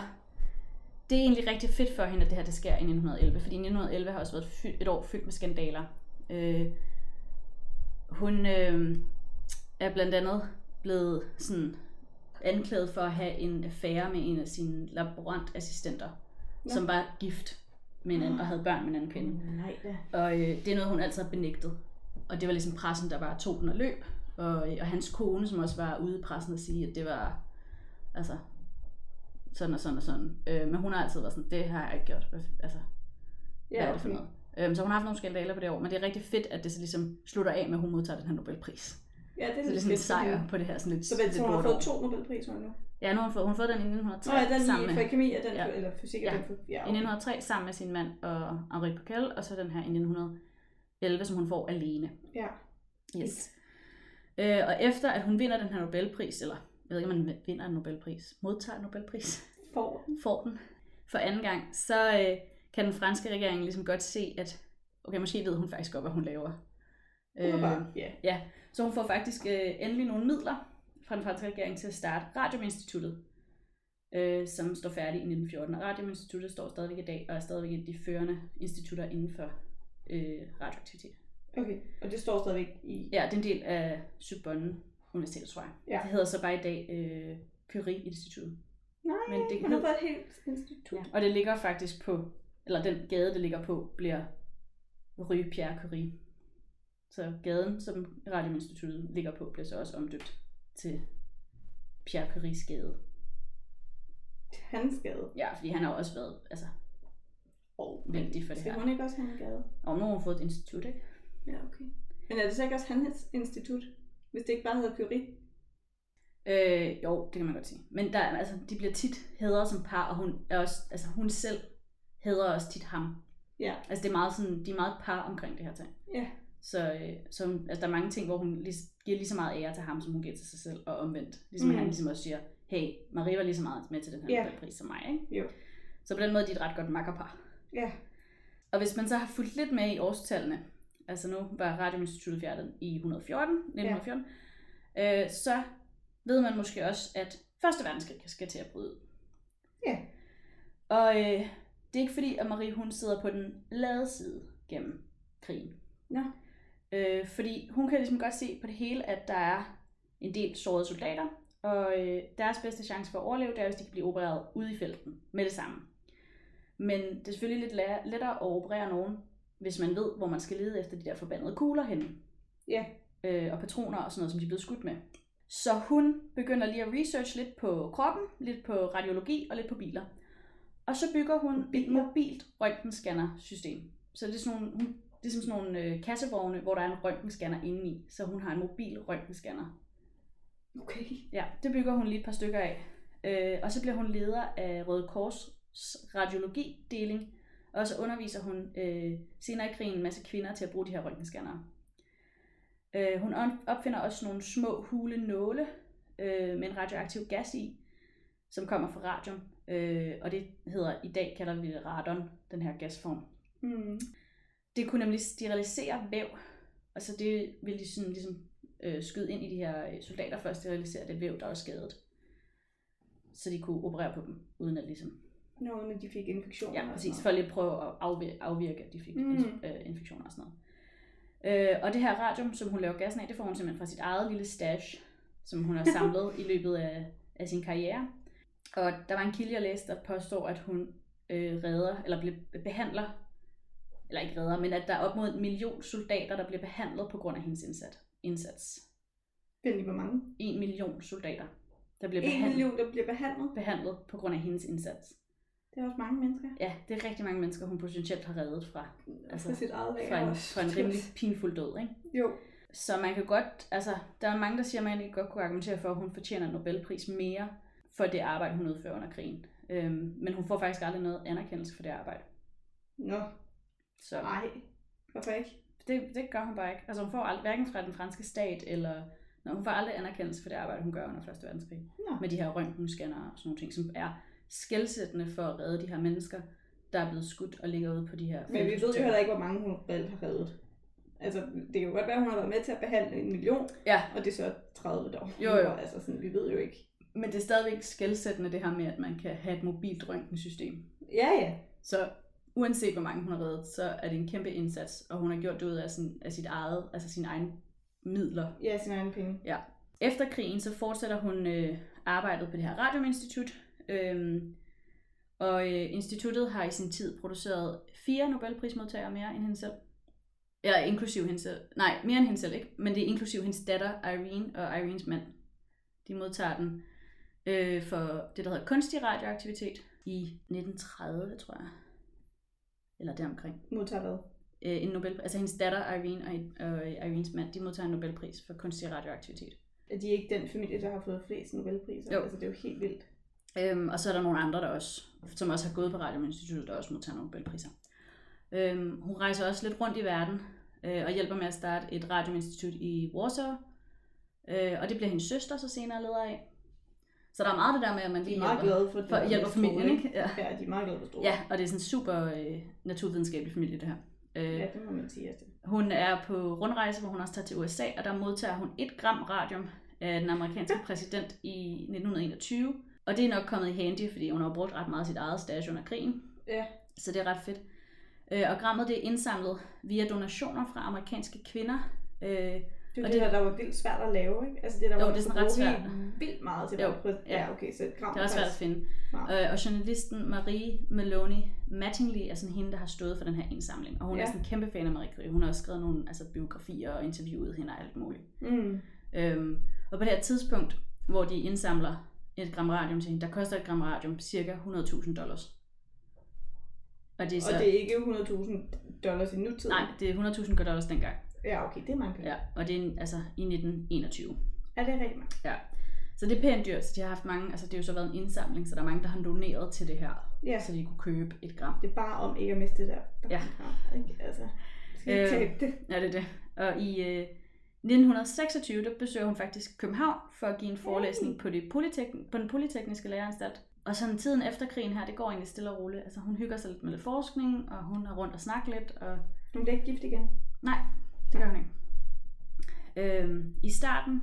B: det er egentlig rigtig fedt for hende, at det her det sker i 1911, fordi 1911 har også været fy- et år fyldt med skandaler. Øh, hun øh, er blandt andet blevet sådan anklaget for at have en affære med en af sine laborantassistenter,
A: Nå.
B: som var gift med en anden, og havde børn med en anden kvinde.
A: Nej da.
B: Og øh, det er noget, hun altid har benægtet. Og det var ligesom pressen, der bare tog den og løb. Og, øh, og hans kone, som også var ude i pressen og sige, at det var altså sådan og sådan og sådan. Øh, men hun har altid været sådan, det har jeg ikke gjort. Hvad- Altså,
A: Ja,
B: hvad er det for
A: okay.
B: noget? Øhm, så hun har haft nogle skandaler på det år, men det er rigtig fedt, at det så ligesom slutter af med, at hun modtager den her Nobelpris.
A: Ja, det er
B: Så det er
A: lidt
B: sådan en
A: fedt.
B: sejr
A: fordi-
B: på det her sådan lidt,
A: Så vent, så
B: lidt
A: hun har
B: lort år.
A: fået to Nobelpriser nu.
B: Ja, nu har hun fået, hun har fået den i
A: Nå, ja,
B: 1903
A: den
B: sammen
A: i
B: med,
A: for kemi og den
B: Ja.
A: for, eller fysik og
B: Ja.
A: den for, ja,
B: i 1903 sammen med sin mand og Henri Pocquel, og så den her i 1911, som hun får alene.
A: ja.
B: Yes. Øh, og efter at hun vinder den her Nobelpris, eller jeg ved ikke, om man vinder en Nobelpris, modtager en Nobelpris,
A: For,
B: får den for anden gang, så øh, kan den franske regering ligesom godt se, at okay, måske ved hun faktisk godt, hvad hun laver.
A: øh, ja.
B: Så hun får faktisk øh, endelig nogle midler fra den franske regering til at starte Radioinstituttet, øh, som står færdig i 1914. Og Radioinstituttet står stadigvæk i dag, og er stadigvæk et af de førende institutter inden for øh, radioaktivitet.
A: Okay, og det står stadigvæk i...
B: Ja, det er en del af Sorbonne Universitetet, tror jeg.
A: Ja.
B: Det hedder så bare i dag øh, Curie-instituttet.
A: Nej,
B: Men det
A: hun har
B: hed,
A: fået et helt institut.
B: ja. Og det ligger faktisk på, eller den gade, det ligger på, bliver Rue Pierre Curie. Så gaden, som Radioinstituttet ligger på, bliver så også omdøbt til Pierre Curies gade.
A: Hans gade.
B: Ja, fordi han har også været, altså,
A: Og
B: Vigtigt for det
A: Skal
B: her.
A: hun ikke også have en gade?
B: og nu har hun fået et institut, ikke?
A: Ja, okay. Men er det så ikke også hans institut? Hvis det ikke bare hedder Curie?
B: Øh, jo, det kan man godt sige. Men der, er- altså, de bliver tit hædret som par, og hun, er også, altså, hun selv hædrer også tit ham.
A: Ja.
B: Altså det er meget sådan, de er meget par omkring det her ting.
A: Ja.
B: Så, øh, så hun, altså, der er mange ting, hvor hun lige, giver lige så meget ære til ham, som hun giver til sig selv, og omvendt. Ligesom
A: Mm.
B: mm. han ligesom også siger, hey, Marie var lige så meget med til den her
A: Ja.
B: yeah. pris som mig, ikke?
A: Jo.
B: Så på den måde de er de et ret godt makkerpar.
A: Ja.
B: Og hvis man så har fulgt lidt med i årstallene, altså nu var Radioinstituttet fjernet i 114, 1914, øh, så ved man måske også, at Første verdenskrig skal til at bryde ud.
A: Ja.
B: Og øh, det er ikke fordi, at Marie hun sidder på den lade side gennem krigen.
A: Nå.
B: Øh, fordi hun kan ligesom godt se på det hele, at der er en del sårede soldater, og øh, deres bedste chance for at overleve, det er, hvis de kan blive opereret ude i felten med det samme. Men det er selvfølgelig lidt la- lettere at operere nogen, hvis man ved, hvor man skal lede efter de der forbandede kugler henne.
A: Ja.
B: Øh, og patroner og sådan noget, som de er blevet skudt med. Så hun begynder lige at researche lidt på kroppen, lidt på radiologi og lidt på biler. Og så bygger hun et
A: Biler?
B: mobilt røntgenscanner-system. Så det er sådan nogle, hun, det er som sådan nogle øh, kassevogne, hvor der er en røntgenscanner indeni. Så hun har en mobil røntgenscanner
A: Okay.
B: Ja, det bygger hun lige et par stykker af. Øh, og så bliver hun leder af Røde Kors radiologideling, og så underviser hun øh, senere i krigen en masse kvinder til at bruge de her røntgenskannere. Øh, hun on- opfinder også nogle små hule nåle øh, med en radioaktiv gas i, som kommer fra radium, øh, og det hedder, i dag kalder vi det radon, den her gasform.
A: Mm.
B: Det kunne nemlig sterilisere væv, og så det ville de sådan, ligesom øh, skyde ind i de her øh, soldater for at sterilisere det væv, der var skadet. Så de kunne operere på dem, uden at ligesom...
A: Når de fik infektioner.
B: Ja,
A: og
B: præcis.
A: sådan
B: For lige at prøve at afvirke, afvirke at de fik
A: Mm.
B: mm. øh, infektioner og sådan noget. Øh, og det her radium, som hun laver gassen af, det får hun simpelthen fra sit eget lille stash, som hun har samlet i løbet af, af sin karriere. Og der var en kilde, jeg læste, der påstår, at hun øh, redder, eller ble, behandler, eller ikke redder, men at der er op mod en million soldater, der bliver behandlet på grund af hendes indsat, indsats.
A: noget. Vent lige, hvor mange?
B: En million soldater, der bliver
A: En
B: behandlet,
A: million, der bliver behandlet.
B: behandlet på grund af hendes indsats.
A: Det er også mange mennesker.
B: Ja, det er rigtig mange mennesker, hun potentielt har reddet fra
A: Altså,
B: Altså,
A: for sit eget lager.
B: for en,
A: også.
B: for en rimelig pinfuld død, ikke?
A: Jo.
B: Så man kan godt, altså, der er mange, der siger, at man ikke godt kunne argumentere for, at hun fortjener en Nobelpris mere for det arbejde, hun udfører under krigen. Øhm, men hun får faktisk aldrig noget anerkendelse for det arbejde.
A: Nå,
B: Så
A: nej. Hvorfor ikke?
B: det, det gør hun bare ikke. Altså hun får aldrig, hverken fra den franske stat, eller når hun får aldrig anerkendelse for det arbejde, hun gør under 1. verdenskrig.
A: Nå.
B: Med de her røntgenscanner og sådan nogle ting, som er skældsættende for at redde de her mennesker, der er blevet skudt og ligger ude på de her
A: Men vi ved jo
B: felthospitaler.
A: heller ikke, hvor mange hun reelt har reddet. Altså, det kan jo godt være, at hun har været med til at behandle en million,
B: Ja.
A: og det er så 30 dog.
B: Jo, jo.
A: Altså, sådan, vi ved jo ikke.
B: Men det er stadigvæk skældsættende det her med, at man kan have et mobilt røntgensystem.
A: Ja, ja.
B: Så uanset hvor mange hun har reddet, så er det en kæmpe indsats, og hun har gjort det ud af, sin, af sit eget, altså sine egne midler.
A: Ja, sin egen penge.
B: Efter krigen, så fortsætter hun øh, arbejdet på det her radioinstitut, øhm, og øh, instituttet har i sin tid produceret fire Nobelprismodtagere mere end hende selv. Eller inklusiv hende selv. Nej, mere end hende selv, ikke? Men det er inklusiv hendes datter, Irene, og Irenes mand. De modtager den øh, for det, der hedder kunstig radioaktivitet i 1930, tror jeg. Eller deromkring.
A: Modtager hvad?
B: øh, en Nobel, altså hendes datter Irene og, og Irenes mand, de modtager en Nobelpris for kunstig radioaktivitet.
A: At de er ikke den familie, der har fået flest Nobelpriser.
B: Jo.
A: Altså, det er jo helt vildt.
B: Øhm, og så er der nogle andre, der også, som også har gået på Radioinstituttet, der også modtager Nobelpriser. Øhm, hun rejser også lidt rundt i verden øh, og hjælper med at starte et radioinstitut i Warsaw. Øh, og det bliver hendes søster så senere leder af. Så der er meget det der med, at man
A: De
B: lige
A: er meget
B: hjælper,
A: glade for, at
B: for, hjælper familien. Ikke? Ja.
A: Ja, de er meget glade for Struer.
B: ja, og det er sådan en super øh, naturvidenskabelig familie, det her. Øh,
A: ja, det må man sige. Altså.
B: hun er på rundrejse, hvor hun også tager til USA, og der modtager hun 1 gram radium af den amerikanske præsident i 1921. Og det er nok kommet i handy, fordi hun har brugt ret meget af sit eget stash under krigen.
A: Ja.
B: Så det er ret fedt. Øh, Og grammet det er indsamlet via donationer fra amerikanske kvinder. Øh,
A: Det var
B: Og
A: det,
B: det-
A: der, der var vildt svært at lave, ikke? Altså det, der
B: Jo,
A: var
B: det er sådan
A: man
B: ret
A: skulle
B: svært.
A: bruge helt vildt meget til
B: Jo,
A: at prøve.
B: ja.
A: Ja, okay, så et gram.
B: Det er også svært at
A: faktisk-
B: finde.
A: Wow.
B: Øh, Og journalisten Marie Maloney Mattingly er sådan hende, der har stået for den her indsamling. Og hun er
A: Ja.
B: sådan en kæmpe fan af Marie Curie. Hun har også skrevet nogle altså, biografier og interviewet hende og alt muligt.
A: Mm.
B: Øhm, og på det her tidspunkt, hvor de indsamler et gram radium til hende, der koster et gram radium cirka 100.000 dollars. Og det er så...
A: Og det er ikke 100.000 dollars i nutiden?
B: Nej, det er 100.000 dollars dengang.
A: Ja, okay, det er mange penge. Ja.
B: Ja, og det er en- altså i 1921.
A: Er det er rigtig mange?
B: Ja. Så det er pænt dyrt, så de har haft mange, altså det har jo så været en indsamling, så der er mange, der har doneret til det her,
A: Ja,
B: så de kunne købe et gram.
A: det er bare om ikke at miste det der. der
B: Ja.
A: Gram, ikke? Altså, skal
B: Øh.
A: ikke tabe det.
B: Ja, det er det. Og i øh, 1926, der besøger hun faktisk København for at give en forelæsning på, det polytek- på den polytekniske læreranstalt. Og sådan tiden efter krigen her, det går egentlig stille og roligt. Altså hun hygger sig lidt med lidt forskning, og hun er rundt og snakker lidt, og
A: Hun bliver ikke gift igen.
B: nej, det gør hun ikke. Øhm, I starten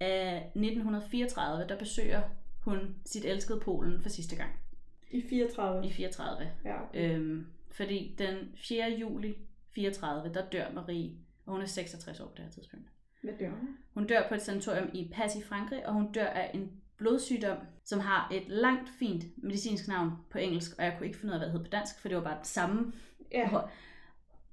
B: af 1934, der besøger hun sit elskede Polen for sidste gang.
A: I 34.
B: I 34.
A: Ja, okay.
B: Øhm, fordi den 4. juli 34, der dør Marie, og hun er 66 år på det her tidspunkt.
A: Hvad dør hun?
B: Hun dør på et sanatorium i Pass i Frankrig, og hun dør af en blodsygdom, som har et langt, fint medicinsk navn på engelsk, og jeg kunne ikke finde ud af, hvad det hed på dansk, for det var bare det samme.
A: Ja,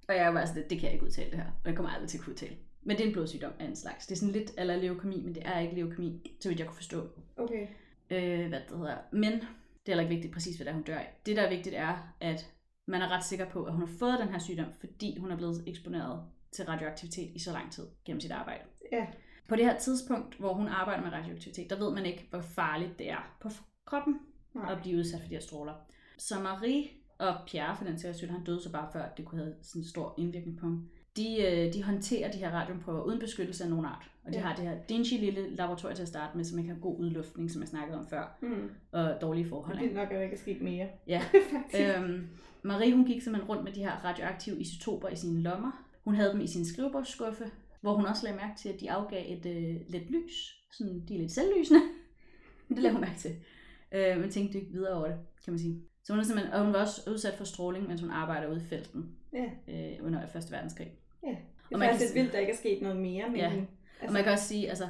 B: Og jeg var sådan lidt, det kan jeg ikke udtale det her, og jeg kommer aldrig til at kunne udtale. Men det er en blodsygdom af en slags. Det er sådan lidt eller leukemi, men det er ikke leukemi, så vidt jeg kunne forstå.
A: okay.
B: Øh, hvad det hedder. Men det er heller ikke vigtigt præcis, hvad det er, hun dør af. Det, der er vigtigt, er, at man er ret sikker på, at hun har fået den her sygdom, fordi hun er blevet eksponeret til radioaktivitet i så lang tid gennem sit arbejde.
A: Ja,
B: På det her tidspunkt, hvor hun arbejder med radioaktivitet, der ved man ikke, hvor farligt det er på f- kroppen
A: nej.
B: at blive udsat for de her stråler. Så Marie og Pierre, for den sags skyld, han døde så bare før, at det kunne have sådan en stor indvirkning på ham. De, øh, de håndterer de her radiumprøver uden beskyttelse af nogen art. Og de
A: Ja.
B: har det her dingy lille laboratorium til at starte med, som ikke har god udluftning, som jeg snakkede om før,
A: Mm.
B: og dårlige
A: Det
B: forhold.
A: er
B: ikke?
A: vildt nok, at der ikke er sket mere.
B: Ja.
A: Faktisk.
B: øhm, Marie hun gik simpelthen rundt med de her radioaktive isotoper i sine lommer. Hun havde dem i sin skrivebordsskuffe, hvor hun også lagde mærke til, at de afgav et øh, lidt lys. Sådan, de er lidt selvlysende. det lagde hun mærke til. Øh, men tænkte ikke videre over det, kan man sige. Så hun, er simpelthen, og hun var også udsat for stråling, mens hun arbejder ude i felten
A: Ja.
B: øh, under 1. verdenskrig.
A: Det
B: og
A: er
B: man
A: faktisk
B: kan-
A: lidt vildt, der ikke er sket noget mere. Men
B: Ja. Og
A: altså,
B: man kan også sige, altså,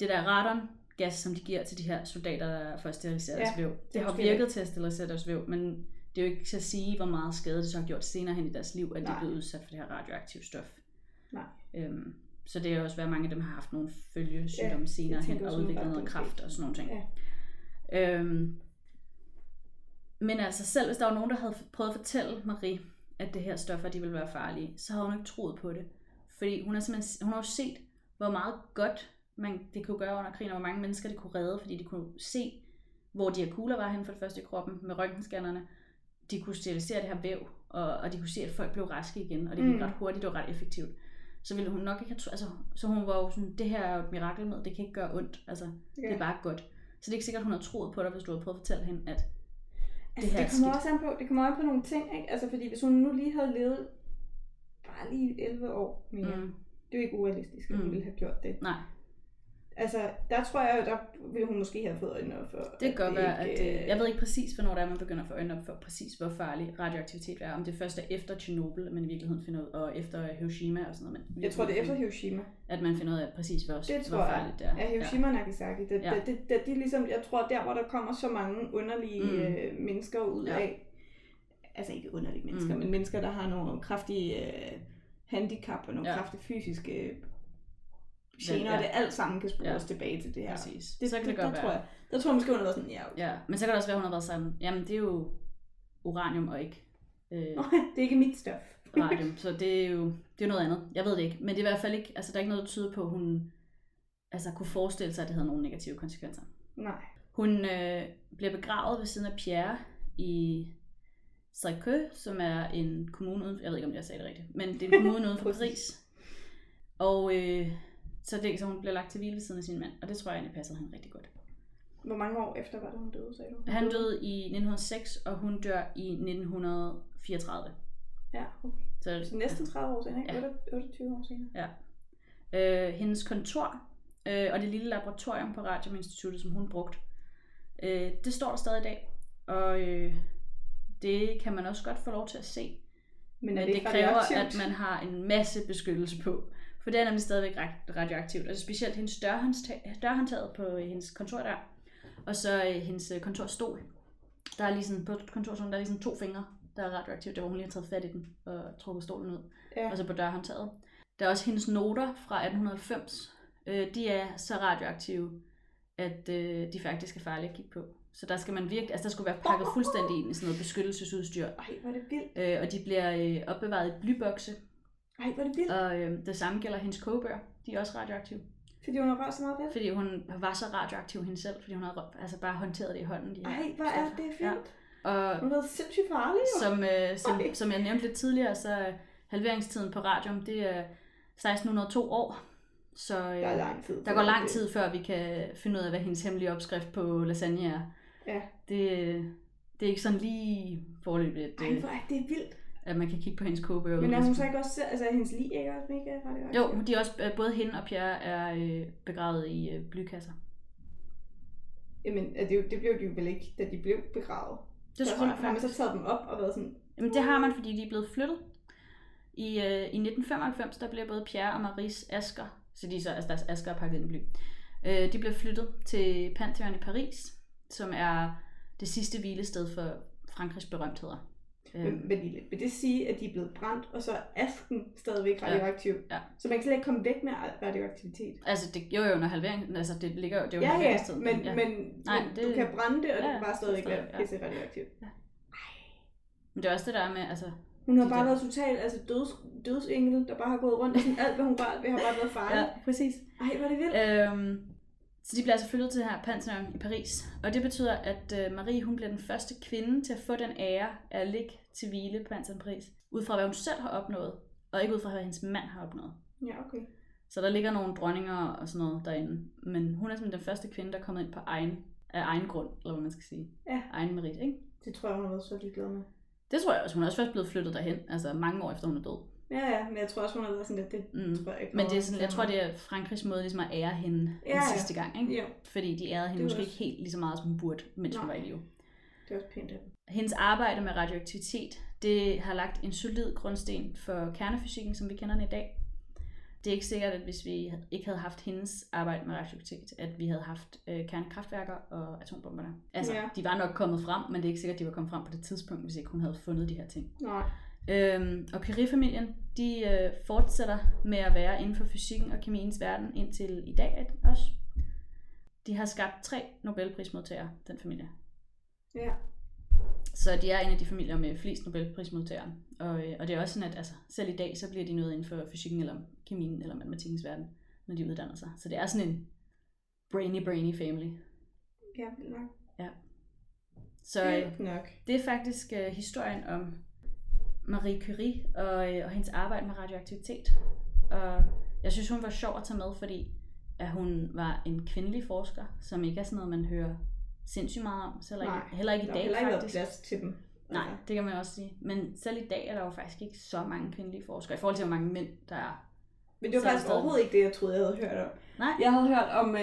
B: det der radongas, som de giver til de her soldater, der får steriliseret
A: Ja,
B: deres væv, det
A: er
B: har
A: måske
B: virket til at sterilisere deres væv, men det er jo ikke til at sige, hvor meget skade det så har gjort senere hen i deres liv, at de er
A: Nej.
B: blevet udsat for det her radioaktive stof.
A: Nej.
B: Øhm, så det er også være, at mange af dem har haft nogle følgesygdomme ja, senere
A: tænker
B: hen
A: jeg
B: og
A: også
B: udviklet
A: umiddelbart,
B: noget
A: det
B: kraft
A: måske.
B: og sådan nogle ting. Ja. Øhm, men altså selv hvis der var nogen, der havde prøvet at fortælle Marie, at det her stoffer de ville være farlige, så havde hun ikke troet på det. Fordi hun har simpelthen hun har jo set, hvor meget godt man, det kunne gøre under krigen, og hvor mange mennesker det kunne redde, fordi de kunne se, hvor de her kugler var hen for det første i kroppen med røntgenskannerne. De kunne sterilisere det her væv, og, og de kunne se, at folk blev raske igen, og det gik
A: Mm.
B: ret hurtigt og ret effektivt. Så ville hun nok ikke have tro, altså, så hun var jo sådan, det her er jo et mirakel med, det kan ikke gøre ondt, altså, ja. det er
A: ja.
B: bare godt. Så det er ikke sikkert, hun har troet på dig, hvis du har prøvet at fortælle hende, at
A: Altså, det,
B: her er
A: kommer
B: skidt.
A: også an på, det kommer an på nogle ting, ikke? Altså, fordi hvis hun nu lige havde levet bare lige 11 år mere, mm.
B: mm,
A: det er jo ikke urealistisk, at hun
B: Mm.
A: ville have gjort det.
B: nej,
A: Altså, der tror jeg, jo, der ville hun måske have fået øjnene op for.
B: Det kan godt være, at
A: ikke,
B: øh, jeg ved ikke præcis, hvornår det er, man begynder at få øjnene op for præcis, hvor farlig radioaktivitet er. Om det først er efter Tjernobyl, man i virkeligheden finder ud, og efter Hiroshima og sådan noget. Man
A: jeg tror, det er efter
B: virkelig-
A: Hiroshima.
B: At man finder ud af præcis, hvor,
A: Det tror
B: hvor
A: jeg.
B: farligt det er.
A: Ja, Hiroshima og Nagasaki. Det,
B: Ja.
A: ja. det, det, de ligesom, jeg tror, der hvor der kommer så mange underlige
B: Mm.
A: mm. øh, mennesker ud
B: Ja.
A: ja. af, altså ikke underlige mennesker,
B: Mm.
A: mm. men mennesker, der har nogle kraftige øh, handicap og nogle
B: Ja.
A: ja. kraftige fysiske gener,
B: Ja.
A: ja. og det alt sammen kan spores
B: Ja.
A: ja. tilbage til det
B: Ja,
A: her.
B: præcis.
A: Det,
B: så kan det,
A: der
B: godt
A: Tror
B: være.
A: jeg, der tror jeg måske, hun har været sådan, ja, okay.
B: Ja, men så kan det også være, hun har været sådan, jamen det er jo uranium og ikke... Øh,
A: det er ikke mit stof.
B: på radioen, så det er jo det er jo noget andet. Jeg ved det ikke, men det er i hvert fald ikke, altså der er ikke noget, der tyder på, at hun altså, kunne forestille sig, at det havde nogle negative konsekvenser.
A: Nej.
B: Hun øh, bliver begravet ved siden af Pierre i Sarkø, som er en kommune uden, jeg ved ikke, om jeg sagde det rigtigt, men det er en kommune uden for Paris. Og øh, så, det, så hun bliver lagt til hvile ved siden af sin mand, og det tror jeg egentlig passede hende rigtig godt.
A: Hvor mange år efter var det, hun døde, sagde du? Hun
B: Han døde i 1906, og hun dør i 1934.
A: Ja, okay.
B: Så,
A: Så næsten 30 år senere, ikke?
B: Ja.
A: Ja. 28 år senere.
B: Øh, hendes kontor øh, og det lille laboratorium på Radioinstituttet, som hun brugte, øh, det står der stadig i dag. Og øh, det kan man også godt få lov til at se. Men, Men det, det kræver, at man har en masse beskyttelse på. For det er nemlig stadigvæk ret- radioaktivt. Altså specielt hendes dørhåndtag, dørhåndtaget på øh, hendes kontor der. Og så øh, hendes øh, kontorstol. Der er lige sådan, på kontorstolen, der er lige sådan to fingre, der er radioaktivt. Det var hun lige har taget fat i den og trukket stolen ud
A: Ja.
B: altså på dørhåndtaget. Der er også hendes noter fra 1890. Øh, de er så radioaktive, at øh, de faktisk er farlige at kigge på. Så der skal man virkelig, altså der skulle være pakket fuldstændig ind i sådan noget beskyttelsesudstyr.
A: Ej, hvor er det vildt.
B: Øh, og de bliver øh, opbevaret i blybokse.
A: Ej, hvor er det vildt.
B: Og øh, det samme gælder hendes kogebøger. De er også radioaktive.
A: Fordi hun har rørt så meget ved det.
B: Fordi hun var så radioaktiv hende selv, fordi hun havde rø- altså bare håndteret det i hånden. De her
A: Ej, hvor er
B: stoffer.
A: det vildt.
B: Ja. Og
A: Hun har været sindssygt farlig, jo.
B: Som, øh, som,
A: Ej.
B: som jeg nævnte lidt tidligere, så er halveringstiden på radium, det er 1602 år. Så øh,
A: Der er lang tid.
B: der går lang tid, før vi kan finde ud af, hvad hendes hemmelige opskrift på lasagne er.
A: Ja.
B: Det, øh, det er ikke sådan lige forløbigt, at,
A: Ej,
B: øh,
A: hvor er det vildt.
B: at man kan kigge på hendes kogebøger.
A: Men
B: uden
A: er
B: at
A: hun så
B: skulle-
A: ikke også... Altså, er hendes lig ikke også mega radioaktiv?
B: Jo, de er også, øh, både hende og Pierre er øh, begravet i øh, blykasser.
A: Jamen, er det, jo- det blev de jo vel ikke, da de blev begravet.
B: Det
A: Der
B: tror jeg
A: har man
B: faktisk.
A: så taget dem op og været sådan...
B: Jamen, det har man, fordi de er blevet flyttet. I, øh, I 1995, der blev både Pierre og Maries asker, så de er så, altså deres asker er pakket ind i bly, øh, de blev flyttet til Pantheon i Paris, som er det sidste hvilested for Frankrigs berømtheder.
A: Men,
B: Øh,
A: men vil- vil det sige, at de er blevet brændt, og så er asken stadigvæk radioaktiv?
B: ja.
A: Så man kan slet ikke komme væk med radioaktivitet?
B: altså, det, jo, jo, når halveringen, altså, det ligger jo, det er jo
A: Ja,
B: en
A: ja,
B: halveringstid,
A: men, ja. men,
B: Nej,
A: men
B: det-
A: du kan brænde det, og
B: Ja,
A: det
B: ja,
A: kan bare stadigvæk
B: forstår jeg,
A: være
B: ja.
A: pisse radioaktivt.
B: men det er også det der med, altså,
A: Hun har
B: De
A: bare
B: der-
A: været totalt altså døds, dødsengel, der bare har gået rundt, og sådan alt, hvad hun rørt ved, har bare været farligt. Ja.
B: præcis.
A: Ej, hvor er det vildt.
B: Øhm, så de bliver altså flyttet til det her Pantheon i Paris. Og det betyder, at øh, Marie hun bliver den første kvinde til at få den ære af at ligge til hvile på Pantheon i Paris. Ud fra hvad hun selv har opnået, og ikke ud fra hvad hendes mand har opnået.
A: Ja, okay.
B: Så der ligger nogle dronninger og sådan noget derinde. Men hun er som den første kvinde, der er kommet ind på egen, af egen grund, eller hvad man skal sige.
A: Ja.
B: Egen merit, ikke?
A: Det tror jeg, hun har været så ligeglad med.
B: Det tror jeg også. Hun er også først blevet flyttet derhen, altså mange år efter hun er død.
A: Ja, ja, men jeg tror også, hun har været sådan lidt, det
B: Mm.
A: tror jeg ikke.
B: Men det er sådan, jeg tror, det er Frankrigs måde ligesom at ære hende
A: Ja,
B: den
A: ja.
B: sidste gang, ikke?
A: Jo,
B: Fordi de ærede hende
A: Det var
B: måske
A: også-
B: ikke helt lige så meget, som hun burde, mens hun var
A: Nej.
B: i live.
A: det er også pænt af dem.
B: Hendes arbejde med radioaktivitet, det har lagt en solid grundsten for kernefysikken, som vi kender den i dag. Det er ikke sikkert, at hvis vi ikke havde haft hendes arbejde med radioaktivitet, at vi havde haft øh, kernekraftværker og atombomberne. Altså,
A: Ja.
B: de var nok kommet frem, men det er ikke sikkert, at de var kommet frem på det tidspunkt, hvis ikke hun havde fundet de her ting.
A: Nej.
B: Øhm, og Curie-familien, de øh, fortsætter med at være inden for fysikken og kemiens verden indtil i dag også. De har skabt tre Nobelprismodtagere, den familie.
A: Ja.
B: Så de er en af de familier med flest Nobelprismodtagere. Og, øh, og det er også sådan, at altså, selv i dag, så bliver de noget inden for fysikken eller kemien eller matematikkens verden, når de uddanner sig. Så det er sådan en brainy, brainy family.
A: Ja, vildt nok.
B: Så øh,
A: Vildt nok.
B: det er faktisk øh, historien om Marie Curie og, øh, og hendes arbejde med radioaktivitet. Og jeg synes, hun var sjov at tage med, fordi at hun var en kvindelig forsker, som ikke er sådan noget, man hører sindssygt meget om. Så heller,
A: Nej,
B: ikke, heller ikke i
A: Der
B: dag,
A: har heller ikke været
B: faktisk.
A: plads til dem.
B: Nej,
A: Altså,
B: det kan man også sige. Men selv i dag er der jo faktisk ikke så mange kvindelige forskere, i forhold til hvor mange mænd der er.
A: Men det var
B: Så
A: faktisk
B: stadig-
A: overhovedet ikke det, jeg troede, jeg havde hørt om.
B: Nej.
A: Jeg havde hørt om, øh,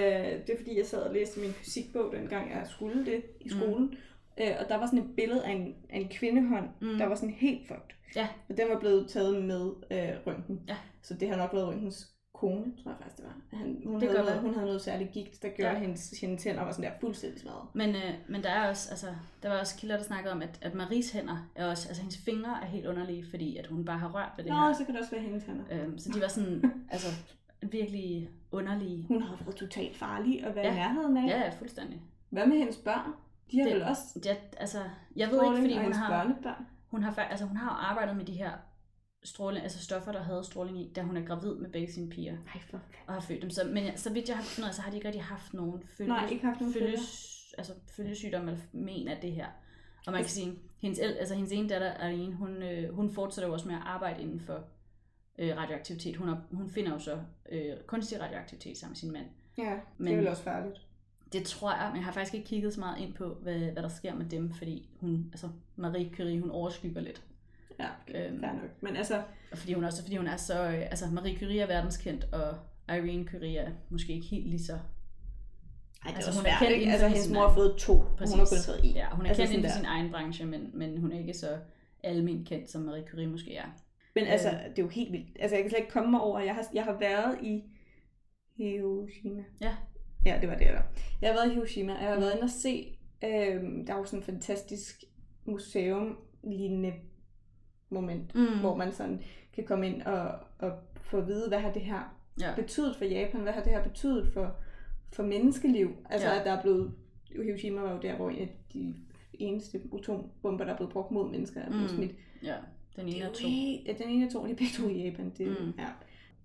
A: det er fordi, jeg sad og læste min fysikbog, dengang jeg skulle det i skolen. Mm. Øh, og der var sådan et billede af en, af en kvindehånd,
B: Mm.
A: mm. der var sådan helt fucked.
B: Ja.
A: Og den var blevet taget med øh, røntgen.
B: Ja.
A: Så det har nok været røntgens kone, tror jeg faktisk, det var. Han, hun,
B: Det
A: det havde
B: gør
A: noget,
B: det.
A: hun havde noget særligt gigt, der gjorde
B: Ja.
A: ja. hendes, hendes tænder var sådan der fuldstændig smadret.
B: Men, øh, men der er også, altså, der var også kilder, der snakkede om, at, at Maries hænder er også, altså hendes fingre er helt underlige, fordi at hun bare har rørt ved det
A: Nå,
B: her.
A: så kan det også være hendes hænder.
B: Øhm, så de var sådan, altså, virkelig underlige.
A: Hun har været totalt farlig at være
B: Ja.
A: i nærheden af.
B: Ja, ja, fuldstændig.
A: Hvad med hendes børn? De har
B: Det-
A: det, vel også
B: Ja, altså, jeg ved ikke, fordi
A: og
B: hun
A: hendes
B: har,
A: børnebørn?
B: hun har, fa- altså, hun har jo arbejdet med de her stråling, altså stoffer, der havde stråling i, da hun er gravid med begge sine piger
A: Nej, for fanden.
B: og har født dem. Så, men jeg, så vidt jeg har fundet, ud af, så har de ikke rigtig haft nogen følge,
A: Nej, ikke haft nogen
B: følge, altså, følgesygdomme eller men af det her. Og man kan sige, hendes, el- altså, hendes ene datter, Arlene, hun, øh, hun fortsætter jo også med at arbejde inden for øh, radioaktivitet. Hun, har, hun finder jo så øh, kunstig radioaktivitet sammen med sin mand.
A: Ja, men... det
B: Men-
A: er vel også færdigt.
B: Det tror jeg, men jeg har faktisk ikke kigget så meget ind på, hvad, hvad der sker med dem, fordi hun, altså Marie Curie, hun overskygger lidt.
A: Ja,
B: Øhm,
A: fair nok. Men altså,
B: Og fordi hun også, fordi hun er så, øh, altså Marie Curie er verdenskendt, og Irene Curie er måske ikke helt lige så,
A: ej, det altså,
B: Altså,
A: er
B: hun
A: hun
B: er kendt
A: svært, ikke?
B: inden
A: Altså,
B: for
A: hendes
B: sin
A: mor
B: egen-
A: har fået to, Præcis. hun har kun fået en.
B: ja, hun er
A: altså, sådan
B: altså kendt inden for
A: der.
B: sin egen branche, men, men hun er ikke så almen kendt, som Marie Curie måske er.
A: Men altså, det er jo helt vildt. Altså, jeg kan slet ikke komme mig over. Jeg har, jeg har været i Hiroshima.
B: Ja.
A: Ja, Mm. det var det, jeg var. Jeg har været i Hiroshima, og jeg har været inde og se, øhm, der er jo sådan et fantastisk museum lignende moment, mm. hvor man sådan kan komme ind og, og få at vide, hvad har det her
B: ja.
A: betydet for Japan? Hvad har det her betydet for, for menneskeliv? Altså,
B: Ja.
A: ja. at der er blevet... Hiroshima var jo der, hvor en af de eneste atombomber, der er blevet brugt mod mennesker, er blevet
B: Mm.
A: mm. smidt
B: ja, den ene og
A: det
B: to.
A: er jo helt- Ja, den ene af to, de er begge to i Japan. Det,
B: Mm.
A: mm. ja.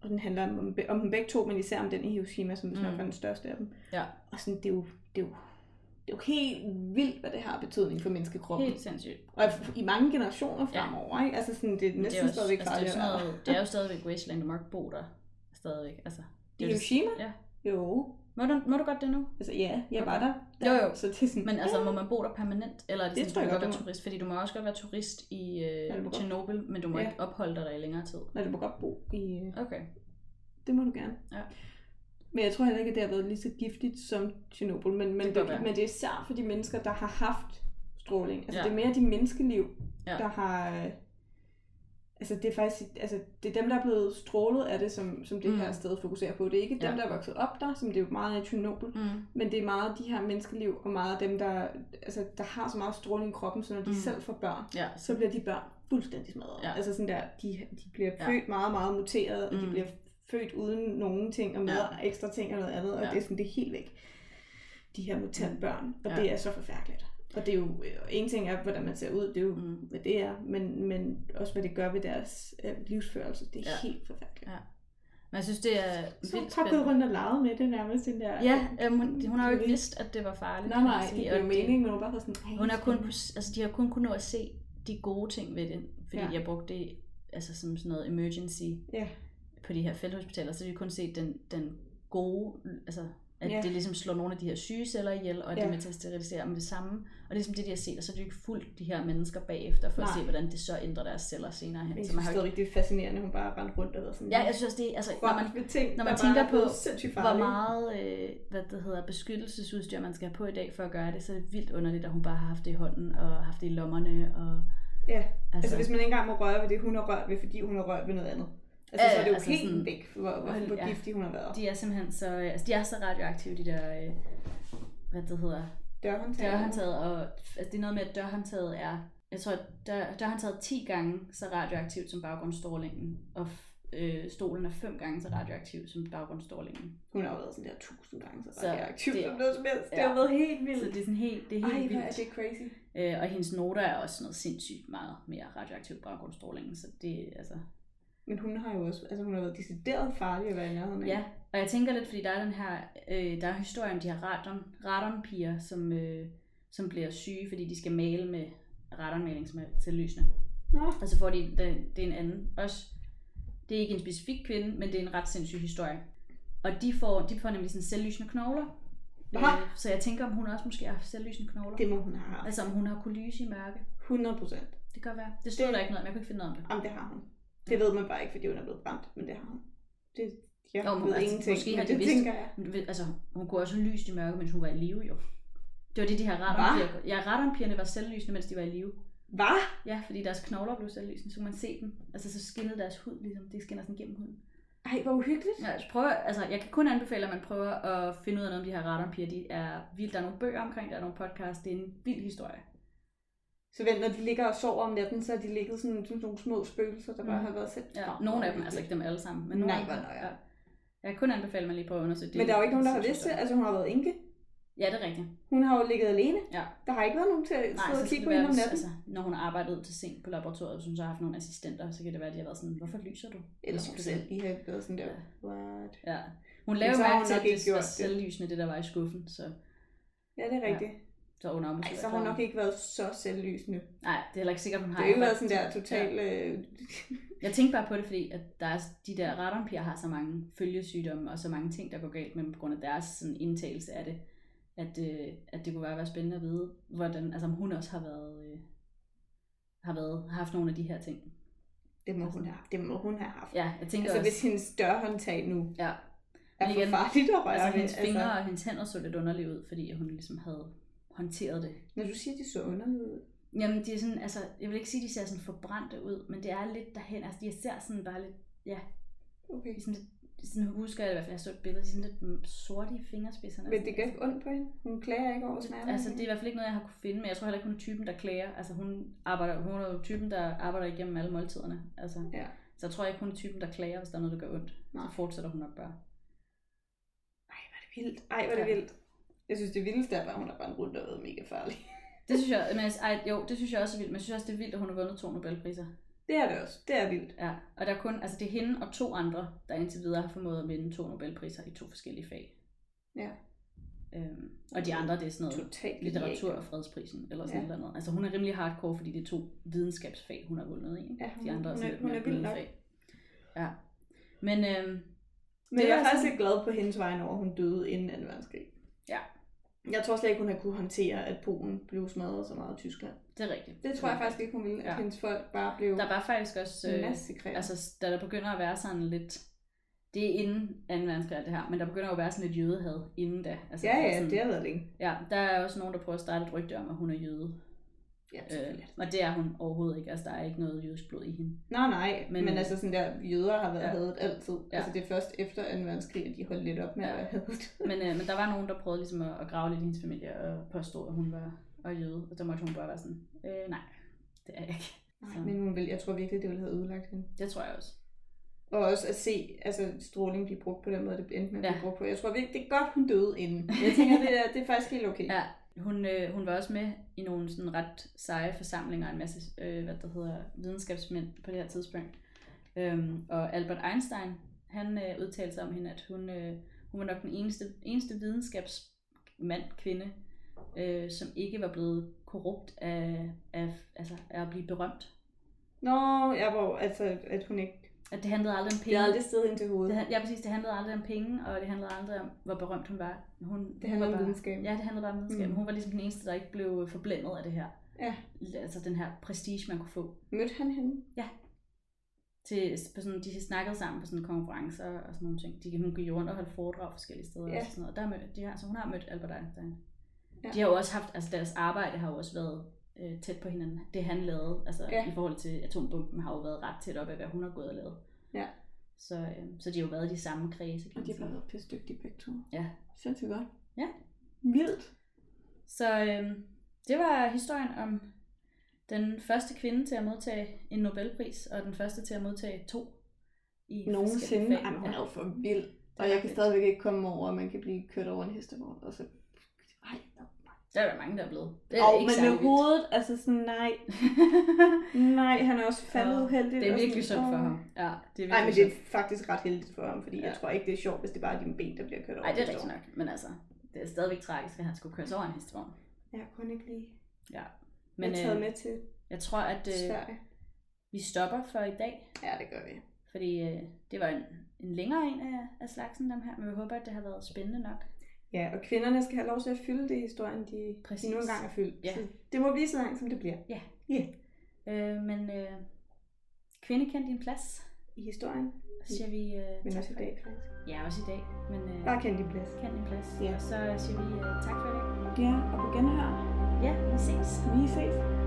A: Og den handler om, om dem begge to, men især om den i Hiroshima, som vist nok
B: Mm.
A: var den største af dem.
B: Ja,
A: Og sådan, det er jo, det er jo, det er jo helt vildt, hvad det har af betydning for menneskekroppen.
B: helt sindssygt.
A: Og f- i mange generationer fremover, ikke? Altså sådan, det er
B: Men
A: næsten det er stadigvæk
B: altså, det, er
A: farligt.
B: jo sådan
A: Altså,
B: noget, det er jo stadigvæk Wasteland, og Mark bor der stadigvæk. Altså, det
A: I
B: er jo det,
A: Hiroshima?
B: ja.
A: Jo.
B: må, du, må du godt det nu?
A: Altså ja, jeg var der.
B: Jo, jo.
A: Så det er sådan,
B: Men altså, må man bo der permanent? Eller er det,
A: Det
B: sådan,
A: tror jeg
B: du må
A: godt,
B: godt
A: du
B: være
A: må.
B: turist? Fordi du må også godt være turist i
A: Ja, du
B: øh,
A: må godt.
B: Tjernobyl, men du må
A: Ja.
B: ikke opholde dig der i længere tid.
A: nej, du må godt bo i... øh,
B: Okay.
A: Det må du gerne.
B: Ja.
A: Men jeg tror heller ikke, at det har været lige så giftigt som Tjernobyl. Men, men, det,
B: Det kan være.
A: men det er især for de mennesker, der har haft stråling. Altså
B: Ja.
A: ja. det er mere de menneskeliv,
B: Ja.
A: ja. der har... øh, Altså det er faktisk altså, det er dem, der er blevet strålet af det, som, som det
B: Mm.
A: mm. her sted fokuserer på. Det er ikke dem,
B: Ja.
A: der er vokset op der, som det er jo meget af i Tjernobyl.
B: Mm.
A: Men det er meget de her menneskeliv, og meget af dem, der, altså, der har så meget stråling i kroppen, så når de
B: Mm.
A: mm. selv får børn,
B: Ja,
A: så bliver de børn fuldstændig smadret.
B: Ja.
A: Ja. Altså sådan der, de, de bliver
B: Ja.
A: født meget, meget muteret, og de
B: Mm.
A: bliver født uden nogen ting, og med
B: Ja.
A: ja. ekstra ting og noget andet, og
B: Ja. Mm.
A: ja. det er sådan, det er helt væk. De her mutantbørn, og
B: Ja.
A: ja. det er så forfærdeligt. Og det er jo, øh, en ting er, hvordan man ser ud, det er jo,
B: Mm.
A: mm. hvad det er, men, men også, hvad det gør ved deres øh, livsførelse, det er
B: Ja.
A: ja. helt forfærdeligt.
B: Ja. Men jeg synes, det er
A: Så har bare
B: vildt
A: gået
B: spændende.
A: rundt og leget med det nærmest, den der...
B: Ja, øhm, hun, hun har jo ikke
A: Curie.
B: vidst, at det var farligt.
A: Nej,
B: kan man
A: nej, det
B: sige,
A: giver jo
B: og det-
A: mening, men hun bare var sådan... "Ej,
B: Hun har kun,
A: spændende."
B: kunne- altså, de har kun kunnet nå at se de gode ting ved det, fordi ja.
A: Ja.
B: jeg brugte det altså, som sådan noget emergency
A: Ja.
B: på de her felthospitaler, så de kunne kun se den, den gode, altså at ja.
A: Ja.
B: det ligesom slår nogle af de her syge celler ihjel, og at ja. det
A: Ja.
B: er med til at sterilisere dem det samme. Og det er ligesom det, de har set, og så har de jo ikke fulgt de her mennesker bagefter, for Nej. at
A: Nej.
B: se, hvordan det så ændrer deres celler senere
A: Men
B: hen.
A: jeg
B: Så man
A: synes
B: har jo ikke...
A: stadigvæk, det er fascinerende, hun bare rendte rundt og været sådan...
B: Ja, jeg synes også, det er, altså, når man,
A: Når man, ting,
B: når man
A: der
B: tænker
A: bare er blevet
B: på,
A: sindssygt
B: hvor
A: farlige.
B: meget øh, hvad det hedder, beskyttelsesudstyr, man skal have på i dag for at gøre det, så er det vildt underligt, at hun bare har haft det i hånden og haft det i lommerne. Og,
A: Ja,
B: altså,
A: altså hvis man ikke engang må røre ved det, hun har rørt ved, fordi hun har rørt ved noget andet. Altså
B: Ja,
A: så er det jo altså
B: altså
A: helt
B: sådan-
A: sådan, væk, hvor, hvor,
B: Hold-
A: hvor
B: ja.
A: giftig hun har været.
B: De er simpelthen så, øh, altså, de er så radioaktive, de der, øh, hvad det hedder,
A: Dørhåndtaget.
B: dørhåndtaget. Og, altså, det er noget med, at dørhåndtaget er, jeg tror, at dør, dørhåndtaget er 10 gange så radioaktivt som baggrundsstrålingen, og f- øh, stolen er 5 gange så radioaktiv som baggrundsstrålingen.
A: Hun har jo været sådan der tusind gange, så
B: Så
A: radioaktiv
B: det-
A: som noget som helst. Det
B: ja.
A: har været helt
B: Så
A: vildt.
B: det er sådan helt, det er helt
A: Ej, hvor
B: vildt.
A: er det crazy.
B: Øh, og hendes noter er også noget sindssygt meget mere radioaktiv baggrundsstrålingen, så det altså...
A: Men hun har jo også, altså hun har været decideret farlig at være i nærheden af.
B: Ja, og jeg tænker lidt, fordi der er den her, øh, der er historien om de her radon, radonpiger, som, øh, som bliver syge, fordi de skal male med radonmaling, som er til lysende.
A: Nå,
B: Og så får de, det, det er en anden også. Det er ikke en specifik kvinde, men det er en ret sindssyg historie. Og de får, de får nemlig sådan selvlysende knogler.
A: Aha.
B: Øh, så jeg tænker, om hun også måske har haft selvlysende knogler.
A: det må hun have haft.
B: Altså om hun har kunne lyse i mørke.
A: 100 procent.
B: Det kan godt være. Det stod
A: Det-
B: der ikke noget om. Jeg kunne ikke finde noget om det.
A: Jamen det har hun. Det ved man bare ikke, fordi hun er blevet brændt, men det har hun. Det, jeg
B: Nå, men
A: ved
B: altså,
A: ingenting,
B: måske
A: men
B: har de
A: det
B: vidst-
A: tænker jeg.
B: Men du ved, Altså, hun kunne også have lyst i mørke, mens hun var i live, jo. Det var det, de her radonpiger. Ja, radonpigerne var selvlysende, mens de var i live.
A: Hvad?
B: Ja, fordi deres knogler blev selvlysende, så kunne man se dem. Altså, så skinnede deres hud, ligesom. Det skinner sådan gennem huden.
A: Ej, hvor uhyggeligt.
B: Ja, altså, prøv, altså, jeg kan kun anbefale, at man prøver at finde ud af noget om de her radonpiger. De er vildt. Der er nogle bøger omkring, der er nogle podcasts. Det er en vild historie.
A: Så vent, når de ligger og sover om natten, så har de ligget sådan, sådan nogle små spøgelser, der bare
B: Mm.
A: har været sendt.
B: Ja, nogle af dem, altså ikke dem alle sammen. Men
A: Nej,
B: nogle af
A: hvor
B: dem,
A: nøjer.
B: Jeg kan kun anbefale, at man lige prøver at undersøge det.
A: Men der er jo ikke nogen, der har
B: sindssygt
A: vidst det.
B: sjovt.
A: Altså, hun har været enke.
B: Ja, det er rigtigt.
A: Hun har jo ligget alene.
B: Ja.
A: Der har ikke været nogen til at
B: Nej,
A: sidde
B: så
A: og
B: skal
A: kigge
B: det
A: på hende
B: være,
A: om
B: hvis,
A: natten.
B: altså, når hun har arbejdet til sent på laboratoriet, så hun så har haft nogle assistenter, så kan det være, at de har været sådan, hvorfor lyser du?
A: Eller
B: Hvis
A: hun
B: du
A: selv
B: kan-
A: lige har været sådan der.
B: Ja.
A: What?
B: Ja. Hun laver
A: så har
B: mærke
A: hun
B: til,
A: nok
B: at det
A: ikke gjort
B: var
A: det.
B: selvlysende, det der var i skuffen, så,
A: Ja, det er
B: Ja.
A: rigtigt.
B: så hun er måske
A: Ej, så har hun nok ikke været så selvlysende.
B: Nej, det er heller ikke sikkert, hun
A: Det
B: har.
A: har jo ikke været
B: arbejdet
A: sådan der
B: til-
A: total... Øh,
B: Jeg tænkte bare på det, fordi at der er, de der radonpiger har så mange følgesygdomme og så mange ting, der går galt med dem på grund af deres sådan, indtagelse af det, at, øh, at det kunne bare være spændende at vide, hvordan, altså, om hun også har været, øh, har været, har haft nogle af de her ting.
A: det, må hun have, det må hun have haft.
B: Ja, jeg tænker
A: Altså,
B: også,
A: hvis hendes dørhåndtag nu
B: ja,
A: er
B: Men
A: for
B: igen,
A: farligt at røre
B: altså,
A: ved,
B: hendes fingre og hendes hænder så lidt underlige ud, fordi hun ligesom havde håndteret det.
A: Når du siger, at de så underligt ud,
B: Jamen, de er sådan, altså, jeg vil ikke sige, at de ser sådan forbrændte ud, men det er lidt derhen, altså, de ser sådan bare lidt
A: okay.
B: sådan lidt, sådan husker jeg i hvert fald, jeg så et billede, de er sådan lidt mm, sorte i fingerspidserne.
A: Men det gør ikke ondt på hende. Hun klager ikke over smerten.
B: Altså, det er i hvert fald ikke noget, jeg har kunne finde, men jeg tror heller ikke, hun er typen, der klager. Altså, hun, arbejder, hun er jo typen, der arbejder igennem alle måltiderne. Altså,
A: Ja.
B: Så jeg tror ikke, hun er typen, der klager, hvis der er noget, der gør ondt. Nej.
A: Nej.
B: Så fortsætter hun nok bare.
A: Ej, hvor er det vildt. Ej, hvor er det
B: Ja.
A: vildt. Jeg synes, det vildeste er bare, at hun har rendt rundt og været mega farlig.
B: Det synes jeg, men, altså, ej, jo, det synes jeg også er vildt, men jeg synes også, det er vildt, at hun har vundet to Nobelpriser.
A: Det er det også. Det er vildt.
B: Ja, og der er kun, altså det er hende og to andre, der indtil videre har formået at vinde to Nobelpriser i to forskellige fag.
A: Ja.
B: Øhm, og de andre, det er sådan noget
A: Totalt
B: litteratur- og fredsprisen, eller sådan
A: Ja.
B: ja. noget. Altså hun er rimelig hardcore, fordi det er to videnskabsfag, hun har vundet i. ikke?
A: Ja, hun-
B: De andre
A: hun er-
B: sådan lidt
A: hun er
B: mere
A: vild
B: bløde
A: nok.
B: fag. Ja. Men øhm,
A: Men
B: Det
A: jeg er
B: var
A: faktisk
B: sådan-
A: lidt glad på hendes vegne over, at hun døde inden 2. verdenskrig.
B: Ja.
A: Jeg tror slet ikke, hun har kunne håndtere, at Polen blev smadret så meget af Tyskland.
B: det er rigtigt.
A: Det tror jeg faktisk ikke, hun ville, at
B: Ja.
A: hendes folk bare blev
B: Der var faktisk også, øh,
A: massakreret. Altså,
B: altså da der begynder at være sådan lidt, det er inden 2. verdenskrig alt det her, men der begynder jo at være sådan lidt jødehad inden da. Altså,
A: ja, ja,
B: sådan,
A: det har været længe.
B: ja, der er også nogen, der prøver at starte et rygte om, at hun er jøde.
A: Ja,
B: Øh,
A: selvfølgelig.
B: og det er hun overhovedet ikke, altså der er ikke noget jødisk blod i hende.
A: Nej, nej, men,
B: Men-
A: men altså sådan der, jøder har været ja.
B: Ja.
A: hadet altid. Ja.
B: Ja.
A: Altså det er først efter 2. verdenskrig, at de holdt lidt op med ja.
B: Ja.
A: at være hadet.
B: Men, øh, men der var nogen, der prøvede ligesom at, at grave lidt i hendes familie og påstå, at hun var og jøde. Og der måtte hun bare være sådan, øh, nej, det er jeg ikke.
A: Nej, men hun vil, jeg tror virkelig, det ville have ødelagt hende.
B: Det tror jeg også.
A: Og også at se altså, stråling blive brugt på den måde, det endte med at blive
B: Ja.
A: brugt på. Jeg tror virkelig, det er godt, hun døde inden. Jeg tænker, det er, det er faktisk helt okay.
B: Ja. Hun, øh, hun var også med i nogle sådan ret seje forsamlinger og en masse øh, hvad der hedder, videnskabsmænd på det her tidspunkt. Øhm, og Albert Einstein, han øh, udtalte sig om hende, at hun, øh, hun var nok den eneste, eneste videnskabsmand, kvinde, øh, som ikke var blevet korrupt af, af, altså, af at blive berømt.
A: Nå, jeg var altså, at hun ikke...
B: At det handlede aldrig om
A: Det
B: penge.
A: har aldrig stedet ind til
B: Det,
A: hovedet.
B: han- ja, præcis. Det handlede aldrig om penge, og det handlede aldrig om, hvor berømt hun var. Hun,
A: Det handler
B: hun
A: om
B: var bare-
A: videnskab.
B: Ja, det handlede bare om videnskab.
A: Mm.
B: Mm. Hun var ligesom den eneste, der ikke blev forblændet af det her.
A: Ja.
B: Altså den her prestige, man kunne få.
A: Mødte han hende?
B: Til, på sådan, de snakkede sammen på sådan konferencer og sådan nogle ting. De, hun gik rundt og holdt foredrag forskellige steder
A: Ja.
B: og sådan noget. Der mødte, de har, så hun har mødt Albert Einstein.
A: Ja.
B: Ja. De har jo også haft, altså deres arbejde har jo også været øh, tæt på hinanden. Det han lavede, altså
A: Ja.
B: ja. i forhold til atombomben, har jo været ret tæt op af, hvad hun har gået og lavet.
A: Ja.
B: Så, øh, så de har jo været i de samme kredse, kan
A: Og
B: man
A: de
B: sige.
A: har bare været pisse dygtige begge to.
B: Ja.
A: Sindssygt godt.
B: Ja.
A: Vildt.
B: Så øh, det var historien om den første kvinde til at modtage en Nobelpris, og den første til at modtage to i
A: Nogensinde.
B: forskellige fag.
A: Ej, men hun er
B: Ja,
A: jo for vild.
B: det er
A: Og jeg kan
B: rigtigt.
A: stadigvæk ikke komme over, at man kan blive kørt over en hestevogn. Og så... Ej, nej.
B: Der er der mange, der er blevet. Det er
A: Og,
B: ikke
A: men
B: særlig
A: med
B: vildt.
A: hovedet, altså sådan, nej, nej, han er også faldet
B: Og
A: uheldigt.
B: Det er
A: og
B: virkelig
A: sådan,
B: synd for
A: åh.
B: ham. Ja, det er
A: Nej, men
B: virkelig
A: det
B: synd.
A: er faktisk ret heldigt for ham, fordi ja. jeg
B: Ja.
A: tror ikke, det er sjovt, hvis det bare er dine ben, der bliver kørt over.
B: Ej, det er
A: næste
B: rigtigt
A: år.
B: nok. Men altså, det er stadigvæk tragisk, at han skulle køres over en hestevogn.
A: Jeg kunne ikke lige
B: Men
A: men, taget
B: øh,
A: med til
B: jeg tror, at øh,
A: Sverige.
B: vi stopper for i dag,
A: Ja, det gør vi.
B: fordi øh, det var en, en længere en af, af slagsen, dem her. Men vi håber, at det har været spændende nok.
A: Ja, og kvinderne skal have lov til at fylde det i historien, de, de
B: Præcis.
A: nu engang er fyldt.
B: Ja.
A: Så det må blive så langt, som det bliver
B: Øh, men øh, kvinde kend din plads,
A: i historien,
B: så siger vi øh,
A: men
B: tak
A: også i
B: for
A: dag faktisk.
B: Ja, også i dag. Men øh,
A: Bare kend din plads.
B: kend din plads.
A: Ja.
B: Og så siger vi øh, tak for i dag.
A: Ja, og på genhør.
B: Ja, vi ses.
A: Vi ses.